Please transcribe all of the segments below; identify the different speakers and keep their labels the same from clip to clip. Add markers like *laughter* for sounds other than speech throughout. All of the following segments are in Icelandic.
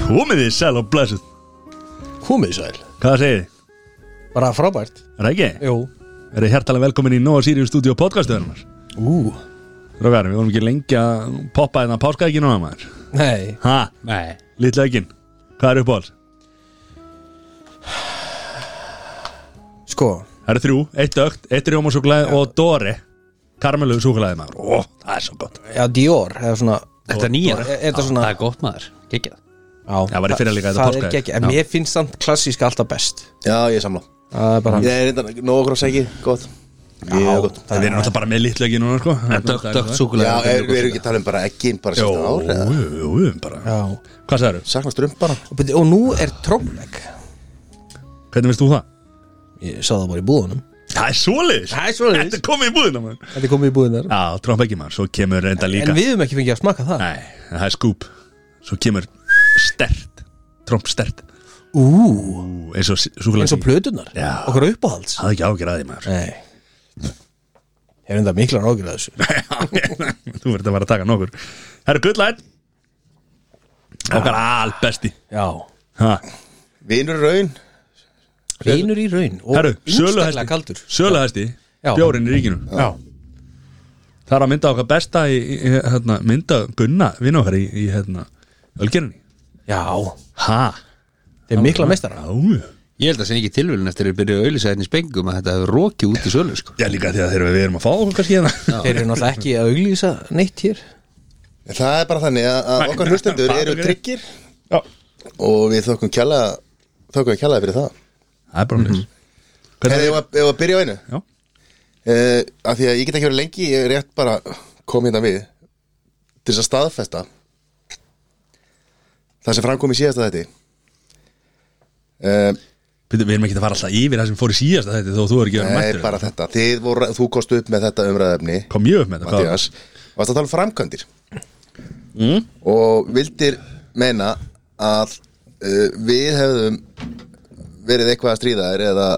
Speaker 1: Komið þið sæl og blessuð
Speaker 2: Komið sæl
Speaker 1: Hvað segið þið?
Speaker 2: Bara frábært
Speaker 1: Er það ekki?
Speaker 2: Jú
Speaker 1: Er þið hjertalega velkomin í Nóa Sirius Studio podcastöðunar?
Speaker 2: Ú
Speaker 1: Rákar, við vorum ekki lengi að poppa þetta páskaækin núna maður
Speaker 2: Nei
Speaker 1: Ha,
Speaker 3: Nei
Speaker 1: litla ækin Hvað er uppáhalds?
Speaker 2: Sko
Speaker 1: Það eru þrjú, eitt dögt, eitt rjómasúklaði og Dóri Karmeluðu súklaði maður Ó, það er svo gott
Speaker 2: Já, Dior eða svona
Speaker 3: Þetta er nýja
Speaker 2: Er- er þetta svona-
Speaker 3: Það er gott maður Gekja
Speaker 2: Já
Speaker 1: Það var í fyrra líka þetta
Speaker 2: Það
Speaker 1: páskaegg.
Speaker 2: er ekki En mér finnst samt klassíska alltaf best
Speaker 4: Já, ég samla
Speaker 2: Það er bara
Speaker 4: Ég er reyndan, nóg okkur á segi, gott Já, gott
Speaker 1: Það er náttúrulega bara með litla ækin núna sko
Speaker 3: En dögt, dögt
Speaker 4: Já,
Speaker 3: súkulega
Speaker 4: er, við erum ekki að tala um bara ekkin bara
Speaker 1: Jó,
Speaker 4: sérst ár eða?
Speaker 1: jú, jú, jú, bara
Speaker 2: Já
Speaker 1: Hvað sagður?
Speaker 4: Sakna strömb bara
Speaker 2: Og byrju, Og nú er trommegg
Speaker 1: Hvernig veist þú það?
Speaker 2: Ég sá það bara í búðunum
Speaker 1: Það er svoleiðis
Speaker 2: Það er svoleiðis.
Speaker 1: Þetta er komið í búðina maður
Speaker 2: Þetta er komið í búðunar
Speaker 1: Já, tromp ekki maður, svo kemur reynda líka
Speaker 2: En við höfum ekki fengið að smaka það
Speaker 1: Nei, það er skúp Svo kemur stert Tromp stert
Speaker 2: Ú
Speaker 1: Ú, Eins og súkulega
Speaker 2: Eins og plötunar
Speaker 1: Já.
Speaker 2: Okkar uppáhalds
Speaker 1: Það er ekki ágjör að því *laughs* maður
Speaker 2: Nei Ég er enda miklar ágjur að þessu
Speaker 1: Þú verður að vera að taka nokkur Herru, good light
Speaker 2: Ah.
Speaker 1: Okkar albesti
Speaker 2: Já
Speaker 1: ha.
Speaker 4: Vinur raun
Speaker 2: Rínur í raun og
Speaker 1: Herru,
Speaker 2: einstaklega
Speaker 1: söluhæsti
Speaker 2: kaldur
Speaker 1: Söluhæsti
Speaker 2: Já.
Speaker 1: Bjórin í ríkinu Já Það er að mynda okkar besta í, í, í hérna, mynda Gunna, vinn okkar í, í hérna, ölgerinni
Speaker 2: Já
Speaker 1: Ha?
Speaker 2: Þeir eru mikla meistara
Speaker 1: Já,
Speaker 3: Ég held að það sé ekki tilvölin eftir að byrja að auðlýsa hérna í spengum að þetta hefur rokið út í sölu sko.
Speaker 1: Já, líka því að þegar við erum að fá okkur kannski hérna *laughs*
Speaker 2: Þeir eru náttúrulega ekki að auglýsa neitt hér
Speaker 4: En Það er bara þannig að- að okkar hlustendur eru tryggir
Speaker 1: Já.
Speaker 4: Og við þökkum kjalla Þökkum kjallaði fyrir það
Speaker 1: Það er bara mér
Speaker 4: Hefði ég var að byrja á einu
Speaker 1: Já.
Speaker 4: uh, Af því að ég get ekki verið lengi Ég er rétt bara kom hérna við Til þess að staðfesta Það sem framkom í síðasta þetta uh,
Speaker 1: Við erum ekki að fara alltaf yfir það sem fór í síðasta þetta þó þú er ekki að vera
Speaker 4: Nei,
Speaker 1: mættur
Speaker 4: Eh, bara þetta Þið voru, Þú kostu upp með þetta umræðefni
Speaker 1: Kom mjög upp með þetta hvað?
Speaker 4: Mattias Varst að tala um framkvæmdir Og vildir meina að uh, Við hefðum verið eitthvað að stríða þér Eða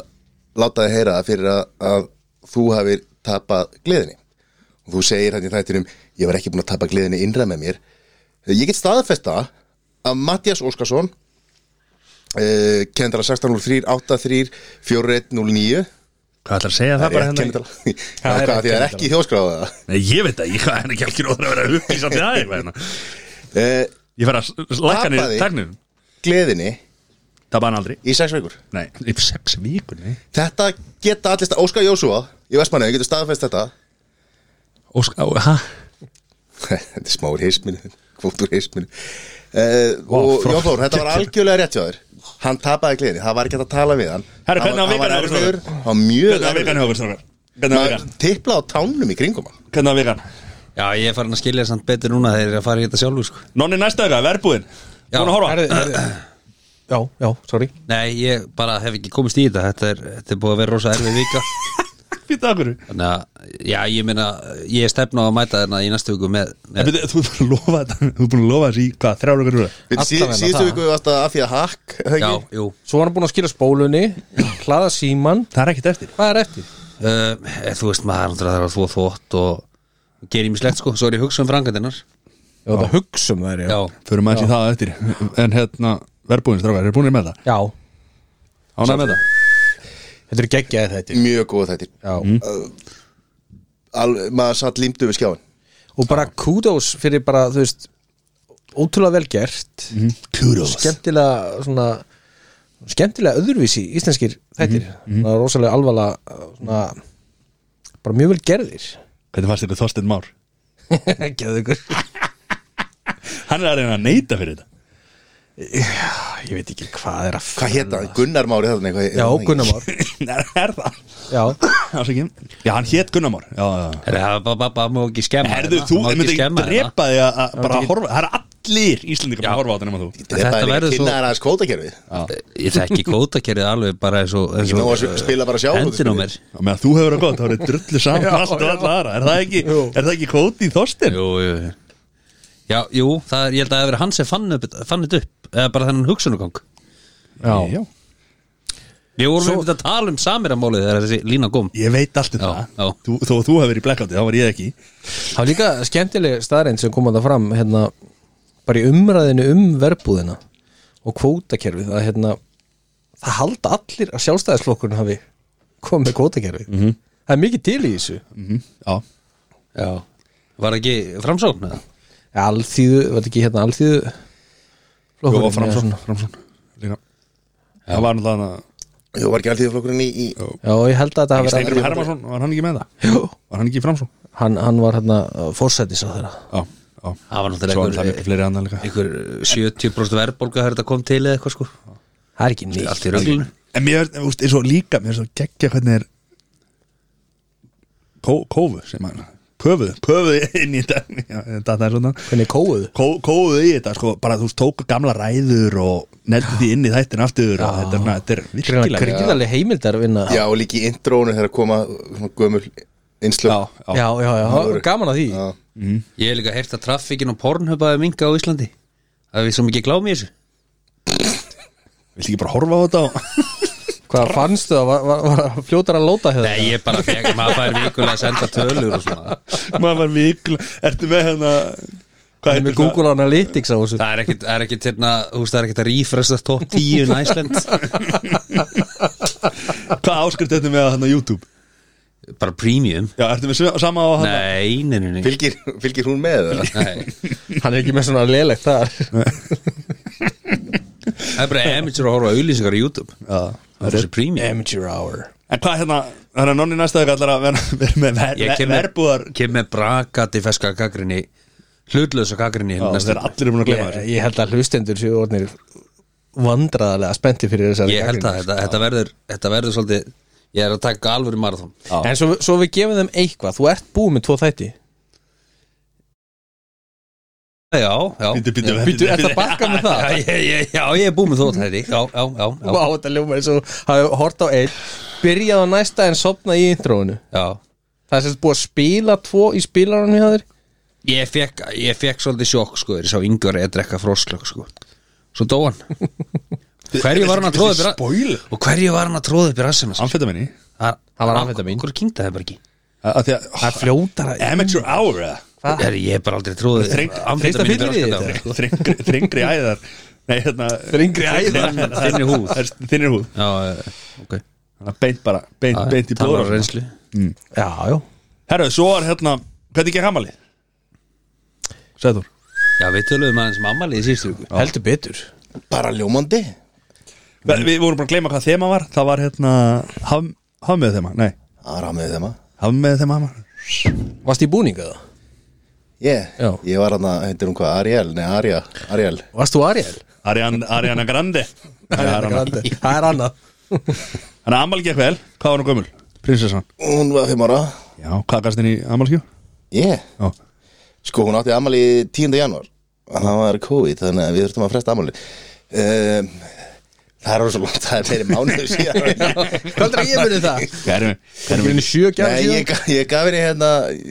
Speaker 4: láta þér heyra það fyrir að, að Þú hafir tapað gleðinni Og þú segir hann í þættinum Ég var ekki búin að tapa gleðinni innra með mér Eh, Ég get staðfesta að Mattias Óskarsson uh, Kendra 1603 83 4109
Speaker 1: Hvað ætlar að segja það bara
Speaker 4: Rétt
Speaker 1: hérna?
Speaker 4: kennitala Það er ekki, ekki þjóskráða það
Speaker 1: Nei, ég veit það, ég hvað henni ekki *laughs* algjör óður að vera að upplýsa til aðeins hérna.
Speaker 4: Eh,
Speaker 1: Ég fer að s- s- lækka niður
Speaker 4: Tapaði.
Speaker 1: tæknum
Speaker 4: Gleðinni
Speaker 1: Það bara hann aldrei
Speaker 4: í sex vikur
Speaker 1: Nei, í sex vikur, nei
Speaker 4: Þetta geta allir stað Óskar Jósúa í Vestmannaug getur staðfest þetta *laughs*
Speaker 1: Óskar, hæ?
Speaker 4: Þetta er smáur hisminu Kvóttur hisminu Uh, og
Speaker 1: frá-
Speaker 4: Jón Þór, þetta var algjörlega rétt hjá þér hann tapaði gleðinni, það var ekki hægt að tala við hann
Speaker 1: Herra,
Speaker 4: Hann
Speaker 1: hvernig var
Speaker 4: hann
Speaker 1: vikan hjá
Speaker 4: erfiður,
Speaker 1: ykkur,
Speaker 4: hann var mjög
Speaker 1: Hvernig að
Speaker 4: erfiður
Speaker 1: vikan hjá okkur, strákar? Hvernig að vikan?
Speaker 4: Maður tiplaði á tánum í kringum hann
Speaker 1: Hvernig að vikan?
Speaker 3: Já, ég er farin að skilja samt betur núna þegar ég er að fara í þetta sjálfur sko.
Speaker 1: Nonni næsta vika, verbúðin
Speaker 3: Já.
Speaker 1: Búin að horfa?
Speaker 2: Herðu, herðu. Já, já, sorry
Speaker 3: Nei, ég bara hef ekki komist í þetta Þetta er, þetta er búið að vera rosa erfið vika
Speaker 1: Fýta okkur
Speaker 3: Þannig að, já, ég meina Ég er stefna á að mæta þarna í næstu viku með,
Speaker 1: En
Speaker 3: með
Speaker 1: byrju, Þú ert búin að lofa þetta Þú ert búin að lofa þessi í hvað, þrjár okkur núna?
Speaker 4: Við
Speaker 2: Alla
Speaker 4: sí,
Speaker 2: vega
Speaker 4: síðustu
Speaker 2: það.
Speaker 4: viku varst að af því að hakk er það
Speaker 3: Já,
Speaker 4: ekki?
Speaker 3: jú
Speaker 2: Svo var hann búin að skila spólunni Hlaða síman
Speaker 1: Það er ekkert eftir
Speaker 2: Hvað er eftir?
Speaker 3: uh, Þú veist, maður náttúrulega þarf að þvó þvótt og gera í mislegt sko, svo er ég hugsa um frangatinnar
Speaker 2: Já, það hugsa um þær, já
Speaker 3: Já,
Speaker 1: Förum aðeins í það á eftir En hérna, verbúðin, strákar, er búin með það?
Speaker 2: Já,
Speaker 1: Ánægð með það?
Speaker 2: þetta er geggjaði þetta
Speaker 4: mjög góð þetta
Speaker 2: Já
Speaker 4: maður satt límdu við skjáin
Speaker 2: Og bara kudos fyrir bara, þú veist Ótrúlega vel gert
Speaker 1: Mhm. Kudos
Speaker 2: Skemmtilega, svona Skemmtilega öðruvísi íslenskir þættir Það er rosalega alvarlega svona, Bara mjög vel *laughs* gerðir
Speaker 1: Hvernig fannst þetta Þorstein Már?
Speaker 2: Geðu ykkur
Speaker 1: Hann er að reyna að neita fyrir þetta
Speaker 2: Ég veit ekki hvað er að
Speaker 4: hvað hétt það? Gunnar Mári þarna eitthvað-
Speaker 2: Já,
Speaker 4: er það ekki?
Speaker 2: Gunnar Már
Speaker 1: *laughs* Er, er það?
Speaker 2: Já
Speaker 1: Ásækjum Já, hann hét Gunnar Már Já, já, já
Speaker 3: er það bara- bara bara má ekki skemma
Speaker 1: Herðu,
Speaker 3: hérna,
Speaker 1: þú
Speaker 3: má
Speaker 1: Ég myndi ekki
Speaker 3: skemma hérna.
Speaker 1: drepa þig að- að bara að horfa Það er allir Íslendingar bara að horfa á þetta nema þú
Speaker 4: Þetta er
Speaker 3: Þetta
Speaker 4: bara
Speaker 3: verður
Speaker 4: ekki
Speaker 3: svo-
Speaker 4: kynnaðar aðeins kvótakerfið
Speaker 3: Ég þekki kótakerið alveg bara eins og, eins
Speaker 4: Ekki nóg
Speaker 3: og
Speaker 4: að spila bara sjálfur,
Speaker 3: Hendin á
Speaker 4: sko.
Speaker 3: mér
Speaker 1: Og meðan þú hefur það gott Þá er þetta drullu saman já, allt og alla aðra Er það ekki,
Speaker 2: Jú.
Speaker 1: er það ekki kóti í Þorstein?
Speaker 3: Jú, jú, jú Já, jú, það er, ég held að það hefur hann sem fann, upp, fann þetta upp eða bara þennan hugsunugang
Speaker 1: Já.
Speaker 3: Við vorum Svo... að tala um samiramálið þegar þessi lína kom
Speaker 1: Ég veit allt um
Speaker 3: Já,
Speaker 1: það
Speaker 3: já.
Speaker 1: Þú, Þó þú hefur verið í blackouti Þá var ég ekki
Speaker 2: Það var líka skemmtileg staðreind sem kom að það fram hérna, bara í umræðinu um verbúðina og kvótakerfið að hérna það halda allir að sjálfstæðisflokkurinn hafi komið með kvótakerfið -hmm. það er mikið til í þessu
Speaker 1: já,
Speaker 3: Já Var ekki framsókn eða?
Speaker 2: alþýðu, var þetta ekki hérna alþýðu
Speaker 1: Jú,
Speaker 2: flokkurinn
Speaker 1: og framsón,
Speaker 2: eða svona?
Speaker 1: framsón líka það var náttúrulega hann að-
Speaker 4: Jú, var ekki alþýðu flokkurinn í, í
Speaker 2: já, ég held að þetta hafi verið-
Speaker 1: Steingrim Hermansson, var hann ekki með það?
Speaker 2: Jú.
Speaker 1: var hann ekki í framsón?
Speaker 2: hann, hann var hérna fórsætis á þeirra
Speaker 1: já, já,
Speaker 3: Það
Speaker 1: svo er
Speaker 3: var náttúrulega
Speaker 1: það
Speaker 3: einhver,
Speaker 1: mikið fleiri annar líka
Speaker 3: einhver 70% verðbólga þegar þetta kom til eða eitthvað sko
Speaker 2: það er ekki neitt
Speaker 3: Allt í röglun
Speaker 1: en mér er, úst, er svo líka mér er svo geggja hvernig er kó, kófu sem hann köfuð, köfuð inn í þetta já, þetta er svona
Speaker 2: hvernig kóuðu
Speaker 1: kó, kófuð í þetta sko, bara þú veist, tóku gamla ræður og neldi því inn í þættin aftur og þetta er, svona- þetta er virkilega
Speaker 2: gríðarlega heimildar vinna
Speaker 4: Já, og líka í intrónu þegar koma svona gömul
Speaker 1: já,
Speaker 4: einslöf
Speaker 2: já, já, já, það var gaman að því
Speaker 4: Já.
Speaker 3: Ég hef líka heyrt að traffikin og pornhubaði minga á Íslandi Það er við svo mikið glámi í þessu
Speaker 1: vill ekki bara horfa á þetta og *laughs*
Speaker 2: hvað fannst þú að var, var, var fljótar að hérna? lóta hefða
Speaker 3: Nei, ég bara fekk, maður fær vikulega að senda tölur og svona
Speaker 1: maður var vikla ertu með hérna hvað
Speaker 2: með Google Analytics á þessu
Speaker 3: Það er ekkit, það er ekkit, hérna, þú veist, það er ekkit að rífresta top 10 in Iceland
Speaker 1: það hvað áskrift ertu með á hérna YouTube
Speaker 3: Bara premium
Speaker 1: já, ertu með sve- sama á hérna
Speaker 3: Nei, nei, nei, nei.
Speaker 4: Fylgir, fylgir hún með það?
Speaker 3: nei.
Speaker 2: hann er ekki með svona lélegt þar
Speaker 3: Það er bara amateur að horfa á auðlýsingar á YouTube
Speaker 1: Já,
Speaker 3: Það er þessi premium
Speaker 2: Amateur Hour
Speaker 1: en hvað hérna hérna nonni næsta þegar allar að vera, vera með ver,
Speaker 3: Ég
Speaker 1: ver,
Speaker 3: kem með,
Speaker 1: verbúðar
Speaker 3: kem með brakati feska gagrinni Hlutlösa gagrinni
Speaker 1: Já, þeir allir er búin að
Speaker 2: ég,
Speaker 1: glemma þessu
Speaker 2: ég held að hlustendur séu orðnir vandraðarlega spennti fyrir þessari
Speaker 3: Ég held að
Speaker 2: gagnrýni.
Speaker 3: þetta, þetta, verður, þetta verður svolítið Ég er að taka alvöru marathon
Speaker 2: en svo, svo við gefum þeim eitthvað þú ert búið með tvo þætti
Speaker 3: Já, já
Speaker 1: Bíddu, bíddu,
Speaker 2: býttu, ert að bakka með það
Speaker 3: *laughs* Já, ég, ég, já, ég er búið með þó þætti Já, já, já, já,
Speaker 2: Vá, þetta ljóma eins og hafi hort á einn byrjað á næsta en sopna í intróinu
Speaker 3: já.
Speaker 2: það er sérst búið að spila tvo í spilaranum hjá þér
Speaker 3: Ég, fekk, ég fekk svolítið sjokk sko Þegar ég sá yngur að drekka frosklökk sko Svo dó hann Hverju var hann að tróða upp í ra-
Speaker 1: spoil
Speaker 3: Og hverju var hann að tróða upp í rassina sko?
Speaker 1: amfetaminni
Speaker 3: Það
Speaker 2: Það var amfetamín.
Speaker 3: Hverju kynnta það bara ekki
Speaker 1: að því að
Speaker 2: það fljótar að
Speaker 1: amateur hour eða?
Speaker 2: Hvað?
Speaker 3: Er, Ég er bara aldrei tróðið
Speaker 1: Þreng-
Speaker 2: Þrengsta fyllir í
Speaker 3: þetta
Speaker 2: þetta?
Speaker 1: Þreng- þrengri- þrengri æðar nei hérna
Speaker 2: Þrengri æðar.
Speaker 1: þinn-
Speaker 3: Þinni húð.
Speaker 1: það er þinnir húð
Speaker 3: Já, eh, ok
Speaker 1: Þannig að beint bara beint, beint í
Speaker 3: Það var
Speaker 1: blóður
Speaker 3: reynslu
Speaker 2: já, já
Speaker 1: herru svo er hérna hvernig ekki hamali Sæður
Speaker 3: Já, við töluðum aðeins mammalið í síðustu viku
Speaker 2: heldur betur
Speaker 4: Bara ljómandi
Speaker 3: Mm.
Speaker 1: Við, við vorum bara að gleyma hvað þema var Það var hérna Haf, haf með þema, nei
Speaker 4: Það er að með þeim að
Speaker 1: Haf með þema var
Speaker 2: varst í búninga það?
Speaker 4: Ég,
Speaker 2: Já.
Speaker 4: ég var hann að, heitir hún hvað, Ariel, nei Arja, Ariel
Speaker 2: varst þú Ariel?
Speaker 1: Ariana, Ariana Grande Þannig
Speaker 2: það er annað
Speaker 1: að Amal gekk vel Hvað var hún gömul? Prinsessan
Speaker 4: Hún var fimm ára
Speaker 1: Já, hvað gast henni í Amalskjó?
Speaker 4: Ég,
Speaker 1: Já
Speaker 4: sko hún átti amali 10. janúar En það var COVID, þannig að við þurftum að fresta amali um, Það er svo langt, það er meiri mánuðu síðan *laughs*
Speaker 2: hvað er að ég muni það?
Speaker 1: Hvað erum við?
Speaker 2: það er minni sjö gæðar
Speaker 4: Nei, ég,
Speaker 2: síðan
Speaker 4: ga- ég gaf henni hérna,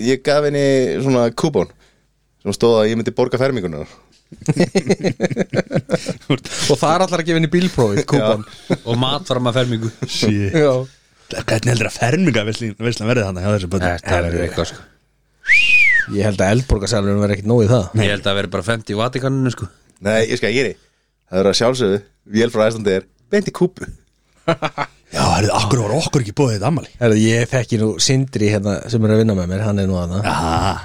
Speaker 4: ég gaf henni svona kúbón Sem stóð að ég myndi borga fermingunar
Speaker 2: og það er allar að gefa henni bílprófið kúpan
Speaker 3: Og mat var maður fermingu
Speaker 1: Sí
Speaker 2: já
Speaker 1: Hvernig heldur að ferminga Veslan verði þannig hjá þessu bönnum?
Speaker 3: Þetta verður eitthvað sko
Speaker 2: ég held að eldborgarsalunum verði ekkit nóið það
Speaker 3: Ég held að það verður bara 50 í Vatikaninu sko
Speaker 4: Nei, ég skal geri Það verður að sjálfsögðu, vél frá æslandi er beint í kúpu
Speaker 1: Já, herrðu, akkur var okkur ekki búið þetta Amali
Speaker 2: Herðu, ég þekki nú Sindri hérna sem er að vinna með mér, hann er nú aðna
Speaker 1: Já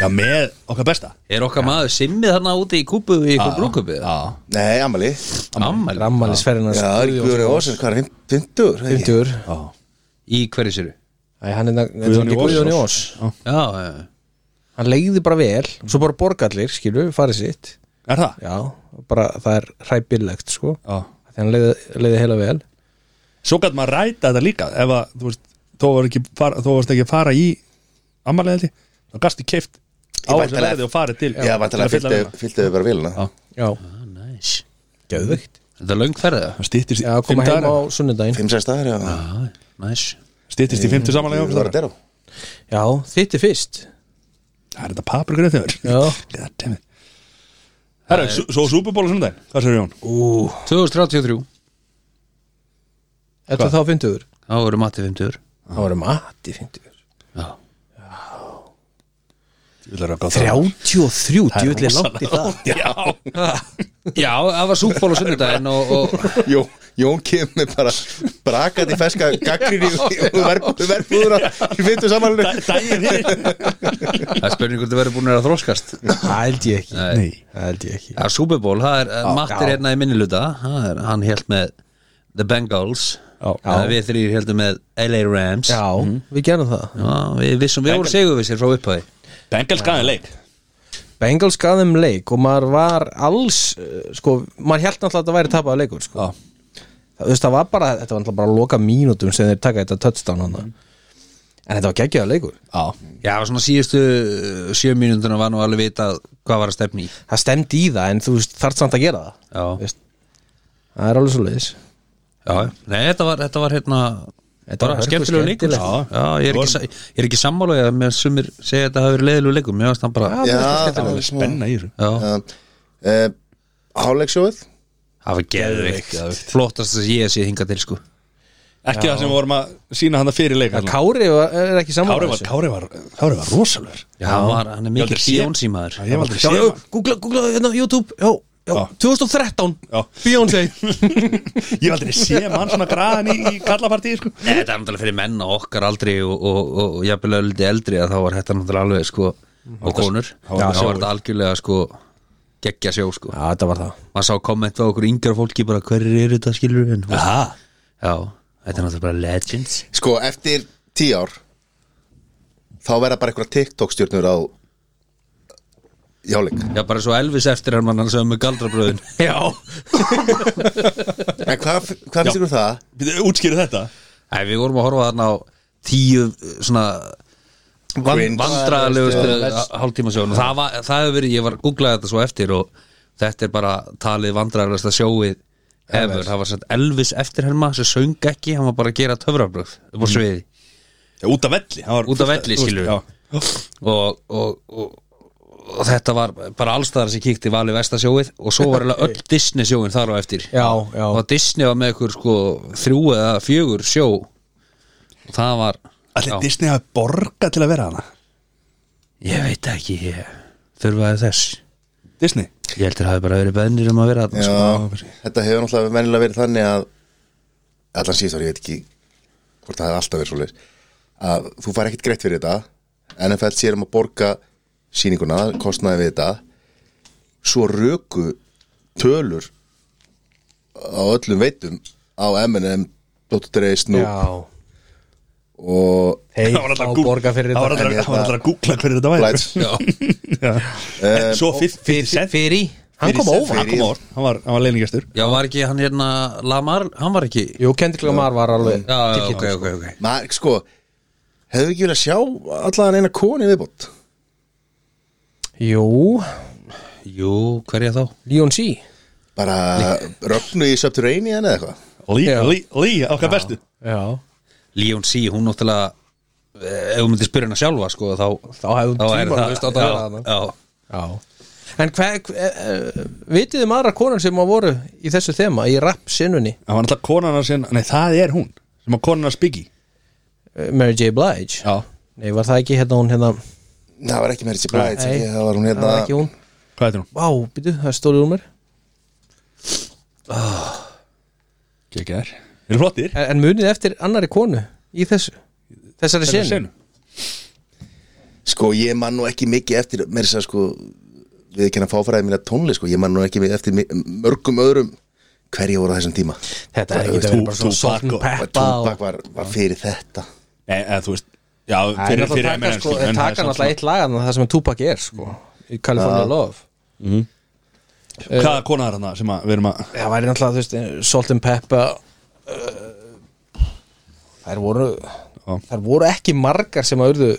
Speaker 1: Já, með okkar besta
Speaker 3: Er okkar maður simmið þarna úti í kúpu Í ykkur brúkupið
Speaker 1: Já
Speaker 4: Nei, amali
Speaker 3: Ammali
Speaker 2: Rammanisferðina
Speaker 4: Já, það er ekki Guðjóni Ósson, hvað er 50? 50
Speaker 2: 50-ur
Speaker 1: Já
Speaker 3: Í hverju séru?
Speaker 2: Æ, hann er na- þetta var ekki Guðjón Jós
Speaker 3: Já, já, já.
Speaker 2: Hann leiði bara vel, svo bara borgallir, skilur, farið sitt
Speaker 1: Er það?
Speaker 2: Já, bara það er hræpillegt, sko
Speaker 1: Já
Speaker 2: Þannig hann leiði, leiði heila vel
Speaker 1: Svo gæti maður ræta þetta líka Ef að, þú veist Þó var ekki fara, þó varst ekki að fara í Amali heldig Þá gasti keift Á
Speaker 4: Ég
Speaker 1: þessu
Speaker 4: væntanlega-
Speaker 1: leiði og farið til
Speaker 4: Já, vantilega
Speaker 1: til að fylla
Speaker 4: fylltu,
Speaker 1: vélina.
Speaker 4: fylltu bara vélina
Speaker 1: Já.
Speaker 2: Já,
Speaker 3: Ah, nice.
Speaker 2: geðveikt
Speaker 3: Þetta er löngferða
Speaker 1: Það stýttist
Speaker 2: Já, koma heim á sunnudaginn
Speaker 4: 5-6 dagar, já
Speaker 3: nice.
Speaker 1: Stýttist í 50 samanlega
Speaker 4: Það var að
Speaker 1: Það
Speaker 4: dera
Speaker 2: Já, þitt er fyrst
Speaker 1: er þetta paprikur eftir
Speaker 2: Já.
Speaker 1: Goddammit Herra, svo- svo súpuból og sunnudaginn Hvað sér Jón?
Speaker 2: Ú,
Speaker 3: 2033
Speaker 2: þetta þá 50-ur
Speaker 3: Þá verður matið 50
Speaker 2: Það voru mati 50-ur
Speaker 3: Já
Speaker 1: Þrjá
Speaker 2: 33, djúvill er langt í það
Speaker 3: Já Já, það var súkból á sunnudaginn og, og
Speaker 4: Jó, Jón kemur bara brakandi ferska *laughs* gaggrinni og verðbúður að við veitum samanlega
Speaker 1: Dægin hér
Speaker 3: það er spurning hvort þið verður búin að þróskast
Speaker 2: Það held ég ekki
Speaker 1: *laughs* Nei
Speaker 2: Það held ég ekki
Speaker 3: Já, Superból, það er, Matt er
Speaker 2: já.
Speaker 3: hérna í minniluta það er, hann held með The Bengals
Speaker 1: Já.
Speaker 3: Eh, Við þrýr heldum með LA Rams
Speaker 2: Já, við gerum það
Speaker 3: Já, við vissum, við vorum segurvissir frá upphæði
Speaker 1: Bengals gæði leik
Speaker 2: Bengals gaf þeim leik og maður var alls eh, sko, maður held náttúrulega að þetta væri tapaða leikur sko.
Speaker 1: Já.
Speaker 2: það, þú veist, það var bara, þetta var náttúrulega bara að loka mínútum sem þeir taka þetta touchdown hana en þetta var geggjaða leikur
Speaker 1: Já
Speaker 3: Já, svona síðustu eh, sjö mínúnduna var nú alveg vitað hvað var að stefni í
Speaker 2: það stemdi í það en þú veist, þarft samt að gera það
Speaker 3: Já.
Speaker 2: Þú veist, það er alveg svo leiðis
Speaker 3: Já, nei, þetta var, þetta var hérna
Speaker 2: Þetta
Speaker 3: bara
Speaker 2: var hörku
Speaker 3: skemmtilega leikur
Speaker 2: skemmtilegt.
Speaker 3: sko. Já, ég er ekki, sa- ég er ekki sammála ég að með sumir segja þetta hafi verið leiðilegu leikum mér varst hann bara,
Speaker 4: Já, Eh,
Speaker 3: já,
Speaker 4: það var
Speaker 1: Spenna í þessu
Speaker 3: já
Speaker 4: Hálegsjóð
Speaker 3: það var geðveikt flottast að ég sé hingað til sko
Speaker 1: Ekki það sem við vorum að sína hann að fyrir leik
Speaker 2: að Kári var, er ekki saman
Speaker 1: Kári var, Kári var, Kári var rosalur
Speaker 3: já, hann, var, hann er
Speaker 1: Ég
Speaker 3: mikil
Speaker 1: aldrei séð-
Speaker 3: sjónsýmaður
Speaker 1: Ég hef aldrei
Speaker 2: já,
Speaker 1: séð
Speaker 2: já,
Speaker 1: hann
Speaker 2: googla, googla, hérna, YouTube já, já,
Speaker 1: Já.
Speaker 2: 2013
Speaker 1: Já.
Speaker 2: Beyoncé
Speaker 1: Ég hef aldrei séð mann svona graðan í, í kallapartíð sko.
Speaker 3: Nei, þetta er náttúrulega fyrir menn og okkar aldrei og, og, og, og jafnilega liti eldri að þá var þetta náttúrulega alveg sko
Speaker 2: Mhm.
Speaker 3: og konur, þá var þetta algjörlega sko geggja sjó sko
Speaker 2: já, þetta var það
Speaker 3: maður sá komment á okkur yngra fólki bara hverjir eru þetta skilur en, já,
Speaker 1: Aha.
Speaker 3: þetta er náttúrulega bara legends
Speaker 4: Sko, eftir tíu ár þá verða bara einhverja TikTok-stjörnur á jáleik
Speaker 3: Já, bara svo Elvis eftir hann var hann sem með galdrabröðin
Speaker 2: *laughs* já,
Speaker 4: En hvað, hvað finnst ykkur um það?
Speaker 1: Bíddu, Útskýrðu þetta
Speaker 3: Æ, við vorum að horfa þarna á tíu eh, svona
Speaker 4: Cringe.
Speaker 3: vandræðalegustu hálftíma sjóðun það, var- það hefur verið, ég var googlaði þetta svo eftir og þetta er bara talið vandræðalegasta sjóið ever, það var satt Elvis eftir helma sem söng ekki, hann var bara að gera töfrabröð upp á sviði
Speaker 1: Já, Út af velli hann var
Speaker 3: Út af
Speaker 1: fullt-
Speaker 3: velli,
Speaker 1: þú veist,
Speaker 3: skilurðu.
Speaker 1: já.
Speaker 3: og, og, og, og þetta var bara allstaðar sem kíkti valið vestasjóið og svo var eiginlega öll Disney sjóin þar á eftir
Speaker 2: Já, já.
Speaker 3: og Disney var með ykkur sko þrjú eða fjögur sjó og það var
Speaker 1: Ætli
Speaker 3: já,
Speaker 1: Disney hafi borga til að vera hana
Speaker 3: ég veit ekki ég þurfaði þess
Speaker 1: Disney
Speaker 3: ég heldur það hafi bara verið bennir um að vera þarna,
Speaker 4: Já,
Speaker 3: sko.
Speaker 4: þetta hefur náttúrulega venjulega verið þannig að allan síðust ári, ég veit ekki hvort það hefði alltaf verið svoleiðis að þú fær ekkert greitt fyrir þetta NFL sér um að borga sýninguna, kostnaði við þetta svo röku tölur á öllum veitum á M&M, Dr. Dre, Snoop
Speaker 2: já
Speaker 4: og
Speaker 2: hei,
Speaker 1: Það var alltaf
Speaker 2: á
Speaker 1: að gú-
Speaker 2: borga fyrir
Speaker 1: það var
Speaker 2: þetta
Speaker 1: alltaf-
Speaker 4: En
Speaker 1: það var
Speaker 4: hérna-
Speaker 1: alltaf að googla hverju þetta væri
Speaker 4: Blæts.
Speaker 1: *laughs* Já. En Svo 50 cent
Speaker 2: Eh, fyrir, hann kom
Speaker 1: Fyrir-
Speaker 2: óvart
Speaker 1: Hann kom óvart, hann var, hann var leiningestur
Speaker 3: já, var ekki hann hérna Lamar, hann var ekki
Speaker 2: Jú, Kendrick Lamar var alveg
Speaker 3: já, já, ok, ok, ok
Speaker 4: maður, sko hefðu ekki viljað sjá allan eina koni viðbót
Speaker 2: Jú,
Speaker 3: jú, hverja þá?
Speaker 2: Leon C
Speaker 4: bara rögnu í Subterranean eða eitthvað
Speaker 1: Lí,
Speaker 2: Já.
Speaker 1: lí, lí, okkar bestu
Speaker 2: Já,
Speaker 3: Leon C, hún náttúrulega eh, ef hún myndi spyrja hana sjálfa sko, þá,
Speaker 2: Þá hefði hún
Speaker 3: er
Speaker 2: tímann
Speaker 3: það-
Speaker 2: veist átt að vera
Speaker 3: já,
Speaker 2: þarna.
Speaker 3: já.
Speaker 2: já En hvað, hva, uh, vitið um aðra konar sem að voru í þessu þema, í rap sinnunni
Speaker 1: Það var alltaf konan hans hérna- Nei, það er hún Sem að konan hans byggi
Speaker 2: eh, Mary J. Blige
Speaker 1: Já
Speaker 2: Nei, var það ekki hérna hún hérna
Speaker 4: það var ekki Mary J. Blige
Speaker 2: Nei.
Speaker 4: ekki, það var hún
Speaker 2: Það
Speaker 4: hérna
Speaker 2: var ekki hún
Speaker 1: Hvað heitir hún?
Speaker 2: Vá, býtu, það er stólið úr mér
Speaker 1: Kekjar Eru flottir?
Speaker 2: En, en munið eftir annari konu í þessu Þessari
Speaker 1: Þessari
Speaker 2: sinnu
Speaker 1: senu.
Speaker 4: sko ég man nú ekki mikið eftir mér sér sko við ekki hann fáfæraði mína tónli sko ég man nú ekki mikið eftir mi- mörgum öðrum hverja voru á þessum tíma
Speaker 2: Þetta er ekki
Speaker 1: Þú-
Speaker 2: það verið bara svona
Speaker 1: Tupac
Speaker 2: salt
Speaker 1: og-
Speaker 2: and peppa
Speaker 4: Tupac
Speaker 2: og-
Speaker 4: var, var fyrir þetta
Speaker 1: Nei, eða þú veist Já,
Speaker 2: Það er
Speaker 1: fyrir, fyrir
Speaker 2: náttúrulega taka,
Speaker 1: M&M,
Speaker 2: sko,
Speaker 1: en
Speaker 2: en
Speaker 1: það er
Speaker 2: taka
Speaker 1: samt
Speaker 2: náttúrulega eitt lagan það sem Tupac er, sko Í California Love
Speaker 1: svona-
Speaker 2: eh,
Speaker 1: Hvaða konan er hann sem að við erum að
Speaker 2: það væri náttúrulega, þú veist, eh, Salt and Peppa uh, þær voru þær voru ekki margar sem að urðu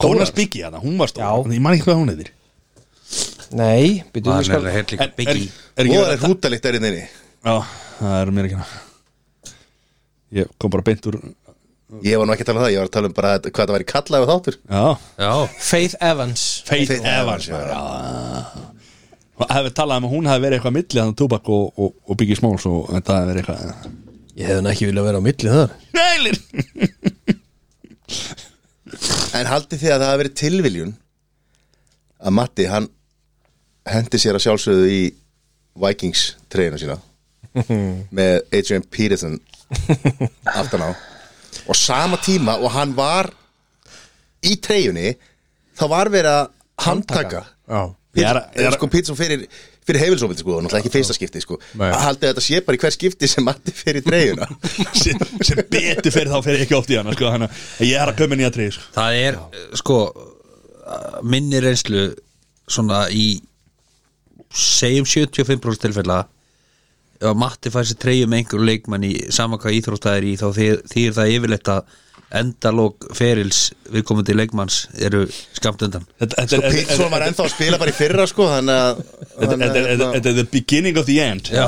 Speaker 1: Konan hans byggi hana, hún var
Speaker 2: Já.
Speaker 1: stóð Ég man ekki hvað hún heitir
Speaker 2: nei, byrju,
Speaker 3: Hann
Speaker 2: við skal
Speaker 3: er heilt líka
Speaker 1: En-
Speaker 3: Biggie
Speaker 1: er
Speaker 4: og
Speaker 1: ekki
Speaker 4: það
Speaker 1: verið
Speaker 4: er hútalikt er hérna inninni
Speaker 1: Já, það er mér ekki hana Ég kom bara beint úr
Speaker 4: ég var nú ekki að tala um það, ég var að tala um bara þetta- hvað það væri kallað og þáttur
Speaker 1: Já,
Speaker 3: Já,
Speaker 2: Faith Evans
Speaker 1: Faith
Speaker 4: Faith
Speaker 1: Evans
Speaker 4: Evans,
Speaker 1: já. Og Það hefði talað um að hún hefði verið eitthvað milli Þannig Tupac og, og, og Biggie Smalls og þetta hefði verið eitthvað
Speaker 2: ég hefði hann ekki viljað vera á milli þar
Speaker 1: Neilir
Speaker 4: en haldið þið að það hafi verið tilviljun að Matti, hann hendi sér að sjálfsögðu í Vikings treyna sína með Adrian Peterson aftan á og sama tíma og hann var í treyjunni þá var verið að handtaka
Speaker 2: Já.
Speaker 1: Ég er- ég er-
Speaker 4: Peterson, sko, Peterson fyrir, fyrir heimilsómið sko, náttúrulega ekki fyrsta skipti sko.
Speaker 2: Nei.
Speaker 4: að haldið þetta sé bara í hver skipti sem Matti fyrir treyjuna
Speaker 1: *laughs* sem, sem betur fyrir þá fyrir ekki oft í hana sko, hana, ég er að köpa nýja treyju sko.
Speaker 3: Það er, sko minni reynslu svona í segjum 75% tilfella ef að Matti fær sér treyju með einhverju leikmann í sama hvað íþróttaðir í þá þýr það yfirleitt að endalók ferils viðkomandi leikmanns eru skamt undan
Speaker 1: Þetta- þetta
Speaker 4: sko,
Speaker 1: er-
Speaker 4: Peterson var ennþá að spila bara í fyrra sko, þannig að
Speaker 1: Þetta
Speaker 4: þannig
Speaker 1: þetta
Speaker 4: að-
Speaker 2: hérna-
Speaker 1: er- þetta- þetta er the beginning of the end
Speaker 3: Já,